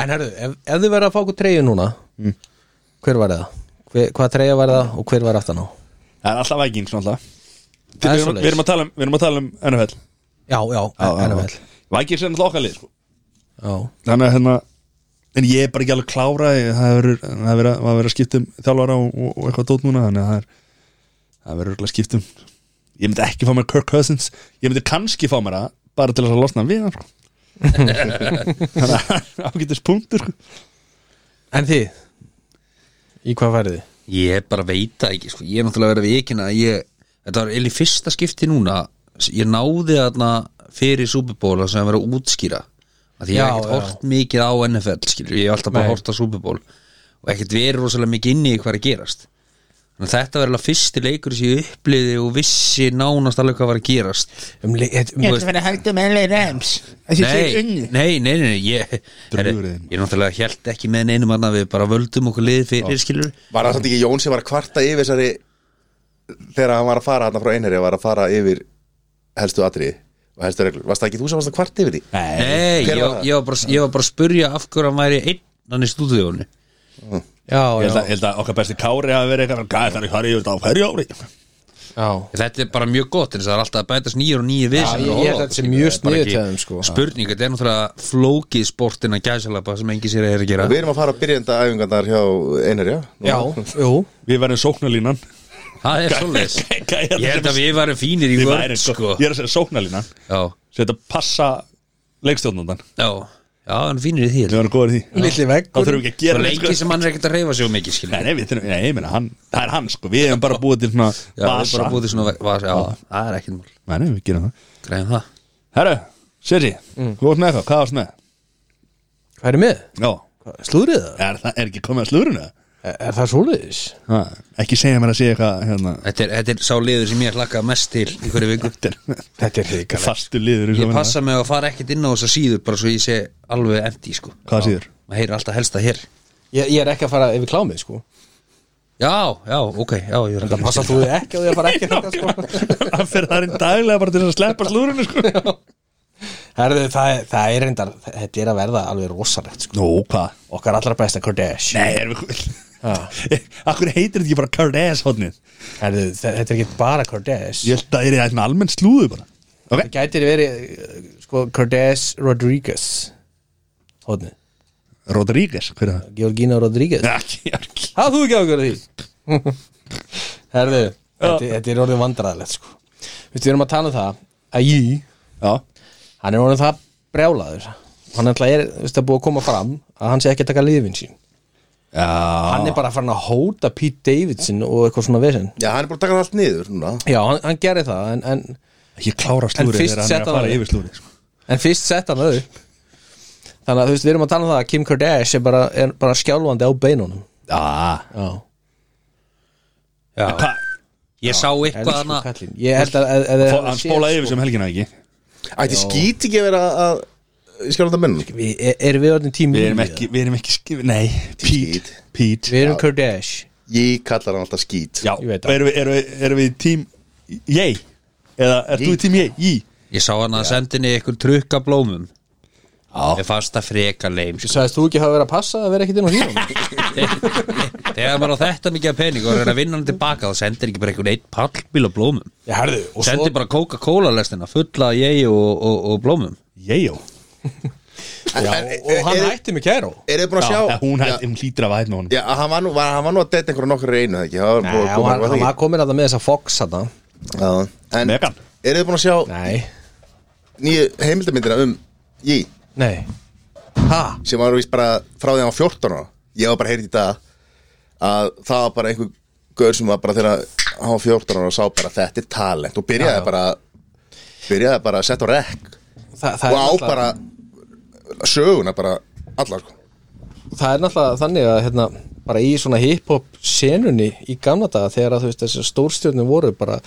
Speaker 2: En herru, ef, ef þið verða að fá okkur treyju núna Hver var það? Hver, hvað treyja var það og hver var aftan á?
Speaker 1: Það er alltaf vækings náttúrulega
Speaker 2: Það er
Speaker 1: Við erum-
Speaker 2: svoleiðis.
Speaker 1: Við erum að tala um, við erum að tala um NFL
Speaker 2: Já, já, hann er vel
Speaker 1: Vækings er náttúrulega okkar lið sko.
Speaker 2: Já,
Speaker 1: Þannig að hérna En ég er bara ekki alveg klára ég- Það verður það verður- það verður að skipta um þjálfara og, og, og eitthvað dót núna Þannig að það er Það verður örugglega að skipta um Ég myndi ekki fá mér Kirk Cousins Ég myndi kannski fá mér það Bara til þess að losna við hann sko. Þannig að það er ágætis punktur sko.
Speaker 2: en þið? Í hvað færið þið?
Speaker 3: Ég bara veit það ekki sko. Ég er náttúrulega verið að vikina að ég, Þetta var eða í fyrsta skipti núna Ég náði þarna fyrir Superból sem að vera að útskýra að Því ég hef
Speaker 2: Já,
Speaker 3: ekkert
Speaker 2: já.
Speaker 3: hort mikið á NFL skilur. Ég hef alltaf bara
Speaker 2: Nei.
Speaker 3: hort á Superból og ekkert verið rosalega mikið inni í hvað er að gerast Þannig að þetta var alveg fyrsti leikur sem ég uppliði og vissi nánast alveg hvað var að gerast
Speaker 2: Um, le- et- um,
Speaker 5: Ég ætla að vera hægt um LA Rams Þessi sér
Speaker 3: Nei,
Speaker 5: unni
Speaker 3: nei, nei, nei, nei ég, herri,
Speaker 1: Drugurinn.
Speaker 3: ég náttúrulega held ekki með neinum annað við bara völdum okkur lið fyrir skilur
Speaker 4: Var það samt ekki Jón sem var að kvarta yfir þessari þegar hann var að fara hann frá einherja var að fara yfir helstu atrið og helstu reglur Varst það ekki þú sem varst að kvarta yfir því?
Speaker 3: Nei,
Speaker 4: Hver
Speaker 3: ég,
Speaker 4: var það?
Speaker 3: ég, var bara, ég var bara að spurja af hverju hann væri einn hann í stúdíónu
Speaker 2: Já,
Speaker 1: Ég held
Speaker 2: já,
Speaker 1: að- ég held að okkar besti kári hafi verið eitthvað Gæði þannig hvað er ég þetta á hverju ári
Speaker 2: já
Speaker 3: Þetta er bara mjög gott, þess að það er alltaf að bætast nýjur og nýjur við
Speaker 2: Já,
Speaker 3: sem
Speaker 2: ég-
Speaker 3: eru
Speaker 2: ég
Speaker 3: að
Speaker 2: held
Speaker 3: horfa
Speaker 2: að
Speaker 3: á
Speaker 2: þetta sé
Speaker 3: þetta,
Speaker 2: mjög
Speaker 3: skilur, það er
Speaker 2: sniðugt
Speaker 3: bara ekki
Speaker 2: hjá þeim, sko.
Speaker 3: Spurning, þetta er náttúrulega flókið sportin að gæsalapa sem engin sér að er að gera
Speaker 4: Og við erum að fara að byrjenda æfingarnar hjá einherja
Speaker 2: Já, jú,
Speaker 1: Við verðum sóknarlínan
Speaker 3: Það er
Speaker 1: *laughs*
Speaker 3: svoleiðis
Speaker 1: Gæjar
Speaker 3: Ég held
Speaker 1: sem-
Speaker 3: að við varum fínir í
Speaker 1: Við
Speaker 3: vörn
Speaker 1: værum,
Speaker 3: sko.
Speaker 1: sko. Ég er að segja sóknarlínan
Speaker 3: Já,
Speaker 1: Þetta passa leikstjórnundan
Speaker 3: já, já, hann fínir í því
Speaker 1: Við varum góður í því
Speaker 2: Lilli
Speaker 1: Þá
Speaker 2: veggur
Speaker 1: þurfum við ekki að
Speaker 3: Svo
Speaker 1: gera neitt, sko.
Speaker 3: lengi sem hann er ekkert að reyfa sig um mikið skilur
Speaker 1: Nei, nei, við þurfum, nei, ég meina, hann, það er hann sko Við hefum bara búið til svona
Speaker 3: Já, við
Speaker 1: vasa
Speaker 3: bara búið til svona vasa Já, það er ekkert mál
Speaker 1: Nei, nei, við gerum það
Speaker 3: Græðum það
Speaker 1: Herru, Sirri,
Speaker 3: Mm.
Speaker 1: þú varst með eitthvað, hvað varst með?
Speaker 2: Hvað er með?
Speaker 1: Já,
Speaker 2: Slúðrið það?
Speaker 1: er, það er ekki komið að slurinu?
Speaker 2: Er, er það svoleiðis?
Speaker 1: Ha, ekki segja mér að segja eitthvað hérna
Speaker 3: Þetta er, þetta er sá liður sem ég hlakka mest til í hverju viku
Speaker 1: Þetta er-
Speaker 2: Þetta er
Speaker 1: þetta er
Speaker 2: hrikalegt
Speaker 1: fastu liður í svo
Speaker 3: Ég
Speaker 1: vinna.
Speaker 3: passa mig að fara ekkert inn á þessa síður bara svo ég sé alveg empty sko
Speaker 1: Hvað síður?
Speaker 3: Maður heyrir alltaf helsta hér
Speaker 2: ég, ég er ekki að fara yfir klámið, sko
Speaker 3: Já, já, ok, já, ég er
Speaker 2: Það passa þú þig ekki og ég fara ekki þetta, sko
Speaker 1: *laughs* Hann fyrir það einn daglega bara til þess að sleppa slurinu sko
Speaker 2: *laughs* Herðu, það, er- það er reyndar, þetta er að verða alveg rosalegt, sko
Speaker 1: Nú, hvað?
Speaker 2: Okkar allra besta Kardashian
Speaker 1: Nei, erum við *laughs* Akkur heitir þetta ekki bara Cardass hodnið
Speaker 2: Herðu, þe- þetta er ekki bara Kardashian
Speaker 1: Ég held að það er eitthvað almenn slúðu bara Ok,
Speaker 2: Það gætir verið uh, sko, Cordes Rodriguez Hóðni,
Speaker 1: Rodríguez, hver er það?
Speaker 2: Georgina Rodriguez
Speaker 1: Ekki, ekki
Speaker 2: Hafðu þú ekki ákveður því? *laughs* Herðu, þetta, þetta er orðið vandræðilegt sko. Vistu, við erum að tala um það að ég,
Speaker 1: Já,
Speaker 2: hann er orðið það brjálaður hann ætla er, viðst, að búið að koma fram að hann sé ekki að taka liðin sín
Speaker 1: já
Speaker 2: hann er bara farin að hóta Pete Davidson og eitthvað svona vesinn
Speaker 4: Já, hann er búin að taka það allt niður núna
Speaker 2: Já, hann, hann gerir það en, en,
Speaker 1: Ég klára slúrið
Speaker 2: fyrst
Speaker 1: þegar hann er
Speaker 2: setta
Speaker 1: að fara
Speaker 2: það.
Speaker 1: yfir slúrið sko.
Speaker 2: en fyrst sett hann það upp Þannig að þú veist, við erum að tala um það að Kim Kardashian er bara, er bara skjálfandi á beinunum
Speaker 1: ah.
Speaker 2: Já
Speaker 3: Já, ég sá eitthvað
Speaker 2: Elsku
Speaker 3: hana
Speaker 2: kallinn Ég held að, að, að, að
Speaker 1: Hann spólaði yfir
Speaker 2: sko.
Speaker 1: sem helgina ekki
Speaker 4: Ætti skýt ekki að vera að ég skal þetta mennum
Speaker 2: við, er- Erum við orðin tími
Speaker 1: Við erum ekki, við erum ekki skif, Nei,
Speaker 4: Skít.
Speaker 1: Pete, Pete.
Speaker 2: Við erum Kardashian
Speaker 4: Ég kallar hann alltaf skýt
Speaker 1: Já,
Speaker 2: Ég veit það.
Speaker 1: erum við, erum við, erum við í tím Ég Eða er þú í tím ég? Í
Speaker 3: Ég sá hana að sendinni eitthvað trukka blómum Ég fannst það freka leim sko.
Speaker 2: Sæðist þú ekki hafa verið að passa að vera ekkit *laughs* inn á hýrum
Speaker 3: Þegar maður á þetta mikið af pening og er að vinna hann tilbaka þá sendir ekki bara eitthvað eitt pallbíl af blómum
Speaker 2: Já, herðu Og svo,
Speaker 3: Sendir bara Coca-Cola lestina fulla af ég og, og, og blómum
Speaker 1: Ég jó
Speaker 2: já, og, og hann hætti mig kæru
Speaker 4: Er þið búin
Speaker 1: Já,
Speaker 4: að sjá
Speaker 1: hún hætti, hún hlýtur af að hætti með honum
Speaker 4: Já, hann var nú, var, hann var nú að detta einhverja nokkur einu eða ekki Það var
Speaker 2: Nei,
Speaker 4: búin
Speaker 2: og hann,
Speaker 4: að koma eitthvað
Speaker 2: hann
Speaker 4: því.
Speaker 2: var komin að það með þessa Fox hana
Speaker 4: Já, En
Speaker 1: Megan
Speaker 4: er þið búin að sjá
Speaker 2: Nei
Speaker 4: nýju heimildamindina um Jí
Speaker 2: Nei
Speaker 3: Ha?
Speaker 4: sem var víst bara frá því að hann var 14 ára ég var bara heyrði í dag að það var bara einhver gaur sem var bara þegar hann var 14 ára og sá bara þetta er talent og byrjaði bara byrjaði bara að setja á rekk
Speaker 2: Þa, það,
Speaker 4: og
Speaker 2: er
Speaker 4: á
Speaker 2: náttúrulega-
Speaker 4: bara söguna bara allar sko
Speaker 2: það er náttúrulega þannig að hérna, bara í svona hip-hop senunni í gamla daga þegar að þú veist þessi stórstjörnum voru bara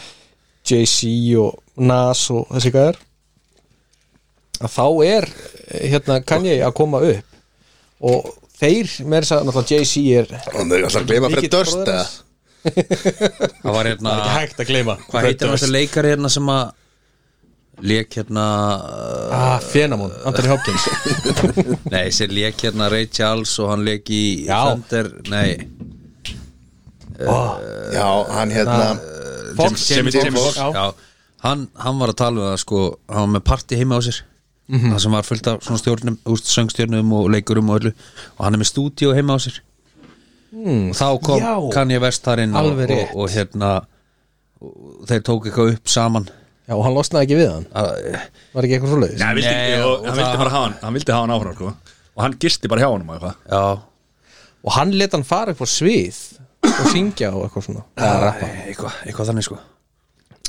Speaker 2: Jay-Z og Nas og þessi hvað er að þá er eh, hérna Kanye að koma upp og þeir með þess að náttúrulega Jay-Z er
Speaker 4: og þau alltaf gleyma fyrir
Speaker 2: Mikill
Speaker 4: dörst
Speaker 2: bróðir
Speaker 4: eða
Speaker 2: hans.
Speaker 3: Það var hérna
Speaker 2: hægt að gleyma
Speaker 3: Hvað heitir þessi leikari hérna sem að Lék hérna
Speaker 2: Ah, Fenamon, Anthony Hopkins
Speaker 3: Nei, sem lék hérna Ray Charles og hann lék í
Speaker 2: Já.
Speaker 3: Thunder, nei
Speaker 2: oh,
Speaker 4: já, hann hérna
Speaker 2: Fox
Speaker 3: Jamie, Jamie, Jamie Foxx
Speaker 2: Já.
Speaker 3: já. Hann, hann var að tala um það sko hann var með party heima á sér mm
Speaker 2: Mhm.
Speaker 3: það sem var fullt af svona stjórnum úst, söngstjórnum og leikurum og öllu og hann er með stúdíó heima á sér mm, og þá kom
Speaker 2: Hmm. já.
Speaker 3: Kanye West þar inn og,
Speaker 2: Alveg
Speaker 3: og,
Speaker 2: rétt.
Speaker 3: og, hérna og þeir tók eitthvað upp saman
Speaker 2: *laughs* Já, og hann losnaði ekki við hann
Speaker 3: að,
Speaker 2: Var ekki eitthvað svo leiðis?
Speaker 1: hann vildi,
Speaker 3: Nei,
Speaker 1: og,
Speaker 3: og
Speaker 1: hann
Speaker 3: það-
Speaker 1: vildi bara hafa hann hann vildi hafa hann áfram sko. og hann gisti bara hjá honum og eitthvað
Speaker 3: já,
Speaker 2: Og hann let hann fara upp á svið og syngja og eitthvað svona Eða rappa
Speaker 3: eitthvað, eitthvað þannig sko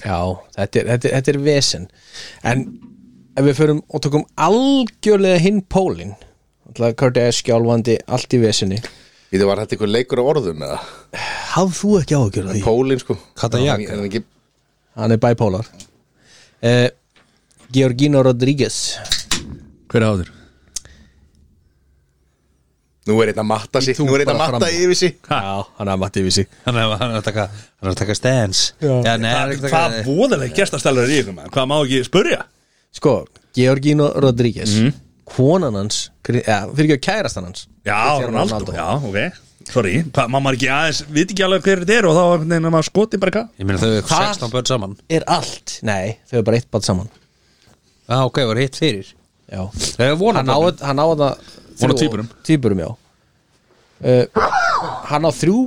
Speaker 2: Já, þetta er, þetta er, þetta er vesen En ef við förum og tökum algjörlega hinn pólin Alltaf Kardashian álvandi allt í vesinni
Speaker 4: í þau var þetta einhver leikur á orðum eða
Speaker 2: Hafð þú ekki áhugjörð því?
Speaker 4: Pólin sko
Speaker 3: Kata Jaka.
Speaker 4: Já, hann- hann er ekki
Speaker 2: Hann er bæpólar eh, Georgino Rodriguez
Speaker 1: hver er áður?
Speaker 4: nú er einn að matta sig
Speaker 2: Í tú
Speaker 4: nú er einn að
Speaker 2: bara
Speaker 4: matta
Speaker 2: fram.
Speaker 4: yfir
Speaker 2: *laughs*
Speaker 4: sig
Speaker 2: Já, hann er mattið við sig
Speaker 3: hann er, hann er að taka hann er að taka stens
Speaker 2: Já.
Speaker 3: já, nei, hann er ekki
Speaker 1: hvað
Speaker 3: að taka
Speaker 1: voðalega gestastælar er í ykkur maður? hvað má ekki spurja?
Speaker 2: Sko, Georgino Rodriguez Konan hans, Kri- ja, fyrir ekki að kærastan hans
Speaker 1: já,
Speaker 2: Cristiano
Speaker 1: Ronaldo, já, ok sorry, hvað, má maður ekki aðeins, við ekki alveg hver þetta er og þá einhvern veginn að maður skoti bara hvað
Speaker 3: ég meina þau eru
Speaker 2: Hvað?
Speaker 3: 16 börn saman
Speaker 2: Er allt? Nei, þau er bara eitt bad saman
Speaker 3: já, ok, var hitt fyrir
Speaker 2: Já
Speaker 3: þau eru
Speaker 2: hann á,
Speaker 3: vonabörn
Speaker 2: hann á það
Speaker 1: Von á tvíburum.
Speaker 2: Týpurum, já uh, Hann á þrjú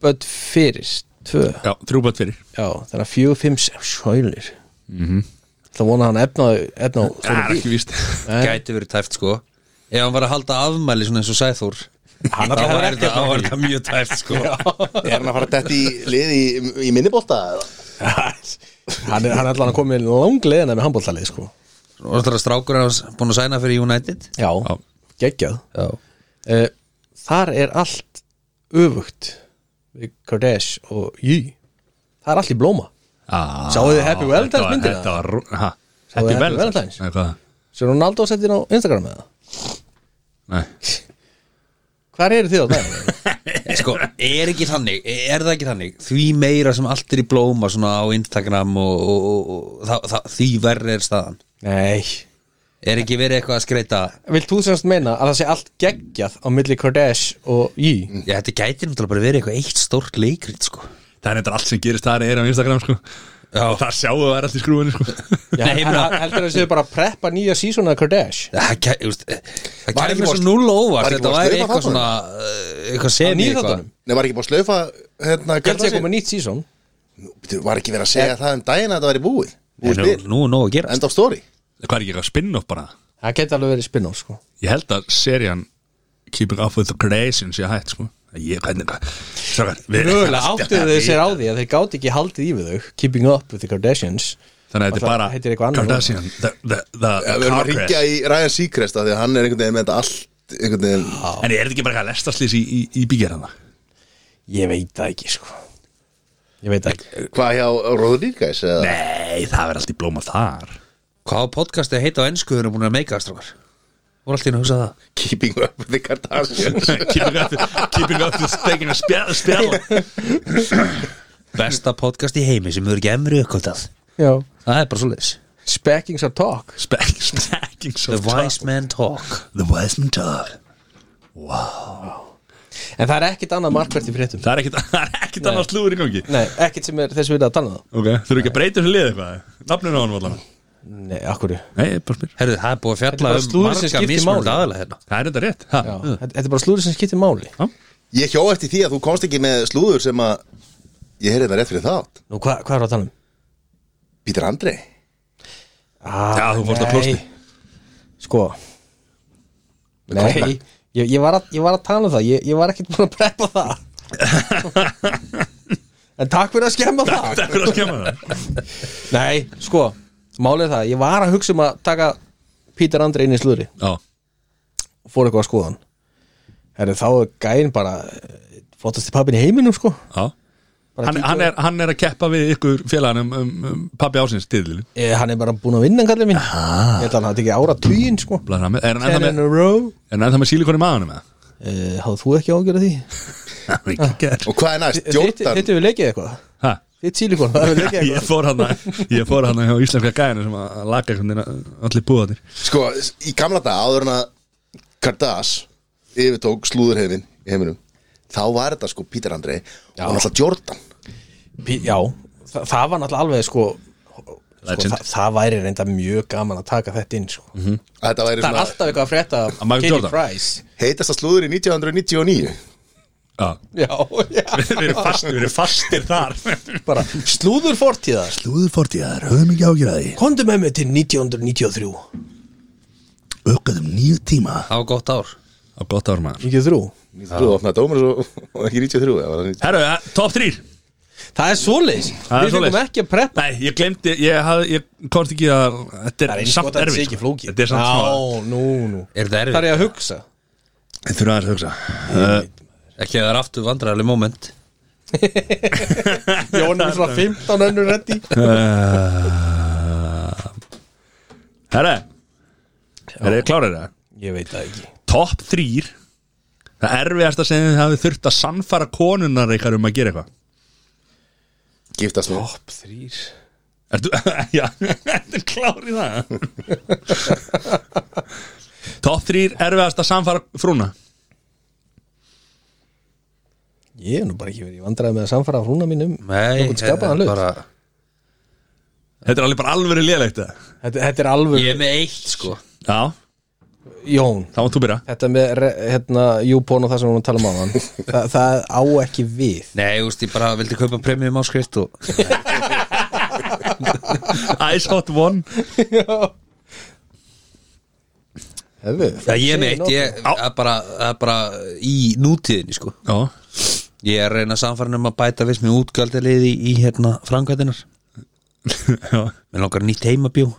Speaker 2: Bödd fyrir Tvö
Speaker 1: já, þrjú bætt fyrir
Speaker 2: Já, þannig að fjögur, fimm, sex Sjælir mm -hmm. Það vona hann efna, efna á
Speaker 1: það
Speaker 2: svona
Speaker 1: er
Speaker 2: bíl
Speaker 1: ekki *laughs* víst
Speaker 2: Nei.
Speaker 3: gæti verið tæft sko ef hann var að halda afmæli svona eins og Sæþór þá
Speaker 2: hefur
Speaker 3: var
Speaker 2: ekki
Speaker 3: þetta var þetta mjög tæft sko
Speaker 4: er hann að fara þetta í lið í, í minnibólta eða
Speaker 2: Hann er, hann er allan að koma með langleiðina með handbóltalið sko
Speaker 3: og þetta er strákurinn hans búin að sæna fyrir United
Speaker 2: Já, geggjað
Speaker 3: já,
Speaker 2: uh, Þar er allt öfugt Við Kardash og Yí Það er allt í blóma
Speaker 1: Ah,
Speaker 2: Sáuð þið Happy Valentine's
Speaker 1: þetta var-
Speaker 2: myndina?
Speaker 1: Þetta var, rú- ha, Happy
Speaker 2: Sáuð þið Happy
Speaker 1: Valentine's
Speaker 2: Valentine's?
Speaker 1: Nei, hvað?
Speaker 2: Sér Ronaldo settir á Instagram með það
Speaker 1: Nei.
Speaker 2: Hvar eru þið á það?
Speaker 3: sko, er ekki þannig er það ekki þannig, því meira sem allt er í blóma svona á Instagram og, og, og, og það, það, því verri er staðan
Speaker 2: *laughs* Nei
Speaker 3: er ekki verið eitthvað að skreita
Speaker 2: Vilt þú semst meina að það sé allt geggjað á milli Kardash og Yí?
Speaker 3: já, þetta gæti náttúrulega bara verið eitthvað eitt stórt leikrit sko
Speaker 1: Það er þetta allt sem gerist þar er á Instagram sko. og það sjáum við að það er allt í skrúinu sko. *laughs*
Speaker 2: Já,
Speaker 3: Nei, ég meina-
Speaker 2: heldur það séu bara að preppa nýja sísona að Kardash?
Speaker 3: Það gæ- þú veist, eh, það
Speaker 4: Var ekki
Speaker 3: kæmi
Speaker 4: búið
Speaker 3: svo
Speaker 4: að-
Speaker 3: null
Speaker 4: var
Speaker 3: óvart
Speaker 4: ekki
Speaker 3: þetta
Speaker 4: búið að
Speaker 3: væri
Speaker 4: skrifa
Speaker 3: eitthvað
Speaker 4: þarna?
Speaker 3: svona eh, eitthvað sem
Speaker 2: Nýja þáttunum?
Speaker 4: Nei, var ekki búið að slöfa
Speaker 2: Ég
Speaker 4: hérna
Speaker 2: held
Speaker 4: Kata
Speaker 2: ég að
Speaker 4: sig?
Speaker 2: koma nýtt síson
Speaker 4: Bíddu, Var ekki verið að segja það um daginn að þetta væri búið Búið
Speaker 3: nú,
Speaker 4: spil,
Speaker 3: nú, nú að gera
Speaker 4: end of story
Speaker 1: Hvað er ekki eitthvað spinn-off bara?
Speaker 2: Það geti alveg verið spinn-off sko
Speaker 1: Ég held að serían Keeping Up With The Kardashians sé hætt sko. ég, hvernig, strákar, við,
Speaker 2: Mögulega áttuðu þau sér á því að þeir gáti ekki haldið í við þau Keeping up with the Kardashians
Speaker 1: Þannig að þetta
Speaker 2: Það
Speaker 1: er bara
Speaker 2: heitir eitthvað annað.
Speaker 1: Kardashian The, the, the,
Speaker 4: ja, Við
Speaker 1: the
Speaker 4: erum
Speaker 1: car
Speaker 4: að ringja
Speaker 1: crash
Speaker 4: í Ryan Seacrest af Því að hann er einhvern veginn með þetta allt einhvern veginn
Speaker 1: En er þetta ekki bara eitthvað lestaslýs í, í, í bígerðana?
Speaker 2: Ég veit það ekki sko Ég veit það ekki
Speaker 4: Hvað hjá Rodríguez eða
Speaker 1: Nei, það verður allt í blóma *laughs* þar
Speaker 3: Hvað á podcastið heita á ennsku þegar búin að meika aðstrákar? Voru alltaf inn að hugsa það
Speaker 4: Keeping up with the Kardashians
Speaker 1: *laughs* Keeping Up Keeping Up With Stekin að spjalla spjalla.
Speaker 3: Besta podcast í heimi sem eru ekki emri uppkvöldað
Speaker 2: Já
Speaker 3: Það er bara svo leis
Speaker 2: Speckings are talk
Speaker 1: Spek- Speaking so
Speaker 3: The
Speaker 1: tough.
Speaker 3: Wise Man Talk
Speaker 1: The Wise Man Talk
Speaker 2: En það er ekkit annað markvært í fréttum
Speaker 1: Það er ekkit, *laughs* það er ekkit annars slúður í gangi
Speaker 2: Nei, ekkit sem er þess að við erum að tala um það
Speaker 1: Ok, þurfum ekki að breyta þessu lið eitthvað Nafninu á hann allan
Speaker 2: Nei, akkurri
Speaker 1: Nei, ég bara spyr
Speaker 3: Herðu, það er búið að
Speaker 2: Þetta er
Speaker 3: fjalla
Speaker 2: bara
Speaker 3: um
Speaker 2: slúðrið sem
Speaker 3: marga
Speaker 2: skiptir máli.
Speaker 3: mismunandi aðalega hérna
Speaker 1: Það er þetta rétt ha?
Speaker 2: Já, þetta þetta er bara slúður sem skiptir máli
Speaker 4: Ég hjó eftir því að þú komst ekki með slúður sem að Ég heyrði það rétt fyrir þátt
Speaker 2: Nú, hva, hvað er að tala um?
Speaker 4: Pítur Andrei
Speaker 2: ah,
Speaker 1: Já, þú fórst á
Speaker 2: nei.
Speaker 1: klósti.
Speaker 2: Sko Nei, ég, ég, var að, ég var að tala um það Ég, ég var ekkert búin að preppa það
Speaker 1: *laughs*
Speaker 2: En takk fyrir að skemma það
Speaker 1: Þetta er að skemma það
Speaker 2: Nei, sko, málið er það Ég var að hugsa um að taka Pítur Andri inn í slúri
Speaker 3: Já,
Speaker 2: og fór eitthvað að skoða hann Herri, þá er gæinn bara eh, flottasti pappin í heiminum, sko
Speaker 1: Já Hann, hann, er, hann er að keppa við ykkur félaganum um, um pappi ásins tíðlilin
Speaker 2: Eh, Hann er bara búin að vinna, kallið mín Aha. Ég ætla að hann hafa tekið ára tugin, sko
Speaker 1: Er hann ennþá
Speaker 2: Ten in
Speaker 1: með,
Speaker 2: a row
Speaker 1: er hann ennþá með sílikon í maðanum eða?
Speaker 2: Eh, Háðu þú ekki ágjörð því?
Speaker 1: Hann er ekki gerð.
Speaker 4: Og hvað er næst? Jordan
Speaker 2: Þetta við leikið eitthvað
Speaker 1: Ha?
Speaker 2: Þitt sílikon, það hefur leikið
Speaker 1: Ég
Speaker 2: eitthvað
Speaker 1: fór hann Ég fór hann hjá íslenska gæðinu sem að laga einhvern veginn allir búðanir
Speaker 4: Sko, í gamla dag áður en að Kardas yfirtók slúðurhefin í heiminum þá var þetta sko Pítur Andrei og náttúrulega Jordan
Speaker 2: Pí- Já, það, það var náttúrulega alveg, sko, sko
Speaker 1: Legend.
Speaker 2: það, það væri reynda mjög gaman að taka þetta inn, sko
Speaker 4: að þetta væri
Speaker 2: Það er
Speaker 4: svona
Speaker 2: alltaf eitthvað að frétta af
Speaker 1: Michael
Speaker 2: Katie
Speaker 1: Jordan.
Speaker 2: Price
Speaker 4: heitasta slúður í 1999
Speaker 1: Já
Speaker 2: Já, já, *laughs*
Speaker 1: Við erum fastir, við erum fastir þar
Speaker 2: bara slúður fortíðar
Speaker 1: Lúður fortíðar, höfum ekki ágjörði
Speaker 2: Komdu með mig til 1993
Speaker 1: Ökkaðum um nýju tíma
Speaker 3: það var gott ár
Speaker 1: Á gott ár maður
Speaker 2: 93?
Speaker 4: þú opnaði dómur og, og ekki 93 það var 90.
Speaker 1: Herru, eh, topp þrýr
Speaker 2: Það er svoleiðis
Speaker 1: Það er
Speaker 2: Við fengum
Speaker 1: svoleiðis.
Speaker 2: ekki að preppa
Speaker 1: Nei, ég glemdi, ég, hafði- ég komst ekki að Þetta
Speaker 2: Það
Speaker 1: er
Speaker 2: er eins gott
Speaker 1: samt
Speaker 2: að þetta sé
Speaker 1: erfið
Speaker 2: ekki
Speaker 1: sko.
Speaker 2: flóki
Speaker 1: Þetta er samt smá
Speaker 2: Já, nú, nú
Speaker 3: Er þetta
Speaker 2: Það er
Speaker 3: erfið?
Speaker 2: ég að hugsa
Speaker 1: Ég þurfa aðeins að hugsa uh,
Speaker 3: Ekki að það er aftur vandræðarlega moment
Speaker 2: Jónum er svona 15 önnur reddi
Speaker 1: Herru Er þið klárið það?
Speaker 2: Ég veit það ekki
Speaker 1: Topp þrýr Það erfiðasta sem þið hafið þurft að sannfara konunar ykkar um að gera eitthvað
Speaker 4: giftast nú
Speaker 2: Top 3
Speaker 1: Ertu, *laughs* já, ertu klár í *laughs* það? Topp þrýr erfiðast að samfara frúna
Speaker 2: Ég hef nú bara ekki verið Ég vandræði með að samfara hrúna mín um
Speaker 3: Nei, hérna,
Speaker 2: nokkurn skapaðan hlut
Speaker 3: bara,
Speaker 1: Þetta er alveg bara alveg lélegt það
Speaker 2: þetta, þetta er alveg
Speaker 3: Ég er með eitt sko
Speaker 1: Já,
Speaker 2: Jón
Speaker 1: þá mátt þú byrja
Speaker 2: Þetta með re- hérna, júbón og það sem hún tala um á hann *laughs* það, það á ekki við
Speaker 3: Nei, þú veist, ég bara vildi kaupa premium áskrift og
Speaker 1: Ice Hot One
Speaker 2: Hefðu
Speaker 3: Já, ég er með eitt, ég er bara, það er bara í nútíðinni sko
Speaker 1: Já, *laughs*
Speaker 3: Ég er að reyna samfærin um að bæta viss með útgjaldaliði í, í hérna framkvæmdinar
Speaker 1: já
Speaker 3: Mér langar nýtt heimabjó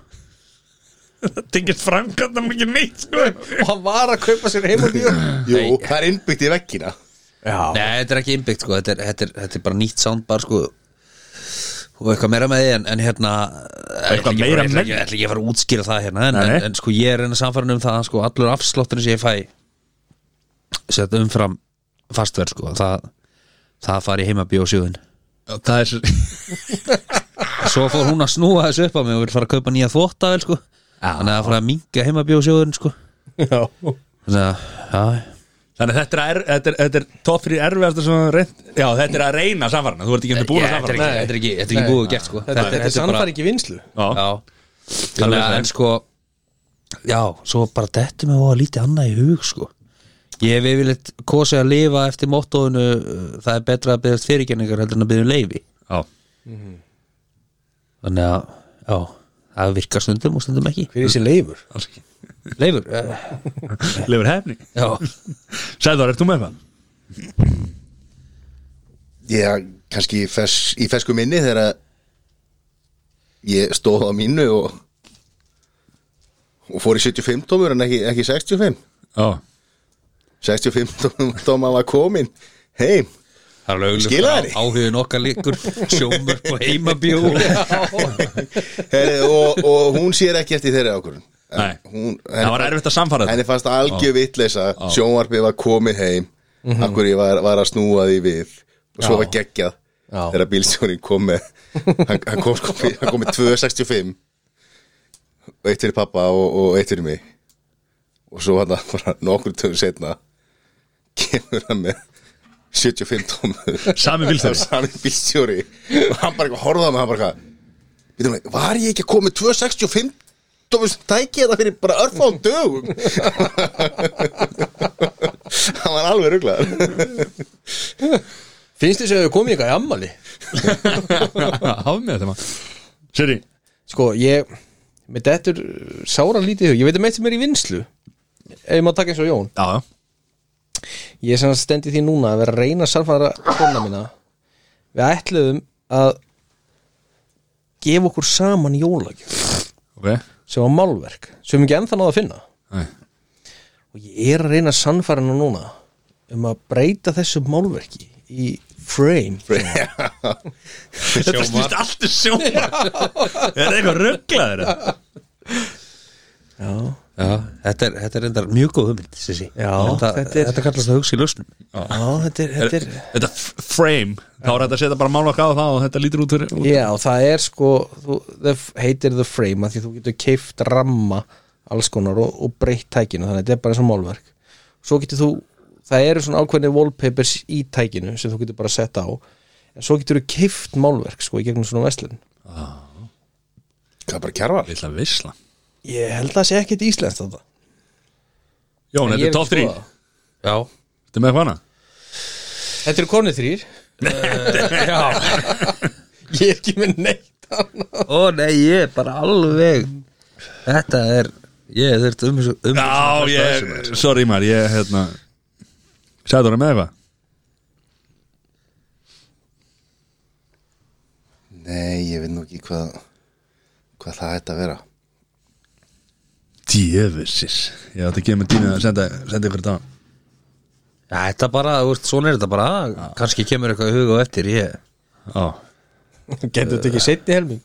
Speaker 1: Það tengist framkvæmna mikið neitt sko
Speaker 2: Og hann var að kaupa sér heim og bíó
Speaker 4: jú, það er innbyggt í vekkina
Speaker 2: Já,
Speaker 3: Nei, þetta er ekki innbyggt sko, þetta er, þetta er, þetta er bara nýtt soundbar sko og eitthvað meira með því en, en hérna ég ætla ekki að
Speaker 1: meira
Speaker 3: fara- ég ætla
Speaker 1: með
Speaker 3: ekki- ég ætla ekki að fara að útskýra það hérna en,
Speaker 1: Nei, nei.
Speaker 3: en, en sko ég er enn að samfæra um það sko allur afslótturinn sem ég fæ setja umfram fastverð sko það, það fari heimabíó sjóðin
Speaker 1: Það er svo
Speaker 3: *laughs* svo fór hún að snúa þessu upp á mig og vil fara að kaupa nýja þvóttavel sko þannig að það fara að minga heimabíó sjóðin sko
Speaker 2: já
Speaker 3: þannig að, já
Speaker 1: Þannig að þetta er, er, þetta er, þetta er topp fyrir erfiðasta sem það er reynt Já, þetta er að reyna samfarana, þú ert ekki endur búin
Speaker 3: Ég-
Speaker 1: að
Speaker 3: þetta er
Speaker 1: samfarana
Speaker 3: ekki- þetta er ekki- þetta er ekki búið og gert sko
Speaker 2: Þetta, þetta er
Speaker 3: bara-
Speaker 2: sannfæringi vinslu
Speaker 1: Já,
Speaker 3: já þannig að en sko já, svo bara dettum við að lítið annað í hug sko ég hef yfirleitt kosið að lifa eftir mottóinu uh, það er betra að byrjast fyrirgenningar heldur en að byrja um leifi
Speaker 1: já
Speaker 3: þannig að, já, það virkar stundum og stundum ekki
Speaker 2: Hver er þessi leifur?
Speaker 1: alls ekki.
Speaker 3: leifur, uh,
Speaker 1: Lifur hefni
Speaker 3: já
Speaker 1: Sæður, ert þú með það?
Speaker 4: ég kannski í, fes, í fesku minni þegar ég stóð á mínu og og fór í 75 tómur en ekki, ekki 65
Speaker 1: Já
Speaker 4: 65 tómur tóma var komin heim
Speaker 3: Það er alveg augljóst
Speaker 4: Skilaði.
Speaker 3: að áhugin okkar líkur sjómur og heimabjó
Speaker 4: Heri, og, og hún sér ekki eftir þeirri ákvörðun En
Speaker 1: Nei.
Speaker 4: hún,
Speaker 1: Það var erfitt að samfara þetta
Speaker 4: henni fannst algjör vitleisa sjónvarpið var komið heim mm af hverju ég var, var að snúa því við og svo var geggjað
Speaker 2: Já.
Speaker 4: þegar bílstjórin kom með hann, hann, kom, sko- hann kom með 265 og eitt fyrir pappa og, og eitt fyrir mig og svo hann bara nokkur tögur setna kemur hann með 75 tómur
Speaker 1: Sami bílstjóri.
Speaker 4: *laughs* sami bílstjóri og hann bara eitthvað horfða með hann bara eitthvað "Bíddu nú, var ég ekki að koma með 265 tómur sem tæki þetta fyrir bara örfáum dögum *laughs* hann var alveg rugglaður
Speaker 2: Finnst þið sem hefur komið eitthvað í ammali?
Speaker 1: Háfum við þetta maður Seri,
Speaker 2: Sko, ég með dettur sára lítið í hug. ég veit um eitt sem er í vinslu ef ég má taka eins og Jón
Speaker 1: já, já,
Speaker 2: ég er sem að stendi því núna að vera að reyna að sannfæra kona mína við ætluðum að gefa okkur saman jólagjöf
Speaker 1: ok
Speaker 2: sem var málverk sem við ekki ennþá náða að finna
Speaker 1: Nei.
Speaker 2: og ég er að reyna að sannfæra hana núna um að breyta þessu málverki í frame
Speaker 1: Þetta snýst allt um í sjómar *laughs* Er það eitthvað rugglaður?
Speaker 2: já,
Speaker 3: Já, þetta er, þetta er endar mjög góð hugmynd Sissi
Speaker 2: Já,
Speaker 3: þetta,
Speaker 2: þetta
Speaker 3: þetta,
Speaker 2: er-
Speaker 3: kallast að hugsa í lausnum
Speaker 2: já þetta er, þetta er
Speaker 1: Þetta f- frame Þá er þetta að setja bara málokka á það og þetta lítur út fyrir út.
Speaker 2: Já, það er sko þú, það heitir The Frame að því þú getur keift ramma alls konar og, og breytt tækinu, þannig að þetta er bara eins og málverk svo getur þú, það eru svona ákveðni wallpapers í tækinu sem þú getur bara að setja á, en svo getur þú keift málverk sko í gegnum svona veslun
Speaker 4: Hvað bara kjarval?
Speaker 1: Lilla visla
Speaker 2: Ég held að það sé ekkert íslenskt þetta
Speaker 1: Jón,
Speaker 2: En
Speaker 1: þetta er
Speaker 2: ég hef
Speaker 1: top
Speaker 2: ekki
Speaker 1: 3
Speaker 2: skoðað.
Speaker 3: Já,
Speaker 1: Þetta er með hvaðna?
Speaker 2: Þetta eru konið *laughs* þrýr
Speaker 3: já
Speaker 2: Ég er ekki með neitt annað
Speaker 3: Ó nei, ég er bara alveg Þetta er Ég þurft um, um
Speaker 1: Já, ég, sorry maður, ég, hérna Sæður það með eitthvað?
Speaker 4: Nei, ég veit nú ekki hvað hvað það ætti að
Speaker 2: *laughs*
Speaker 4: vera
Speaker 1: Djöfusis Ég átti að gefa mig tími að senda, senda ykkur þetta á.
Speaker 3: Já, þetta bara, þú veist, svona er þetta bara kannski kemur eitthvað í huga og eftir Ég
Speaker 1: Á
Speaker 2: Getur þetta ekki setni helming,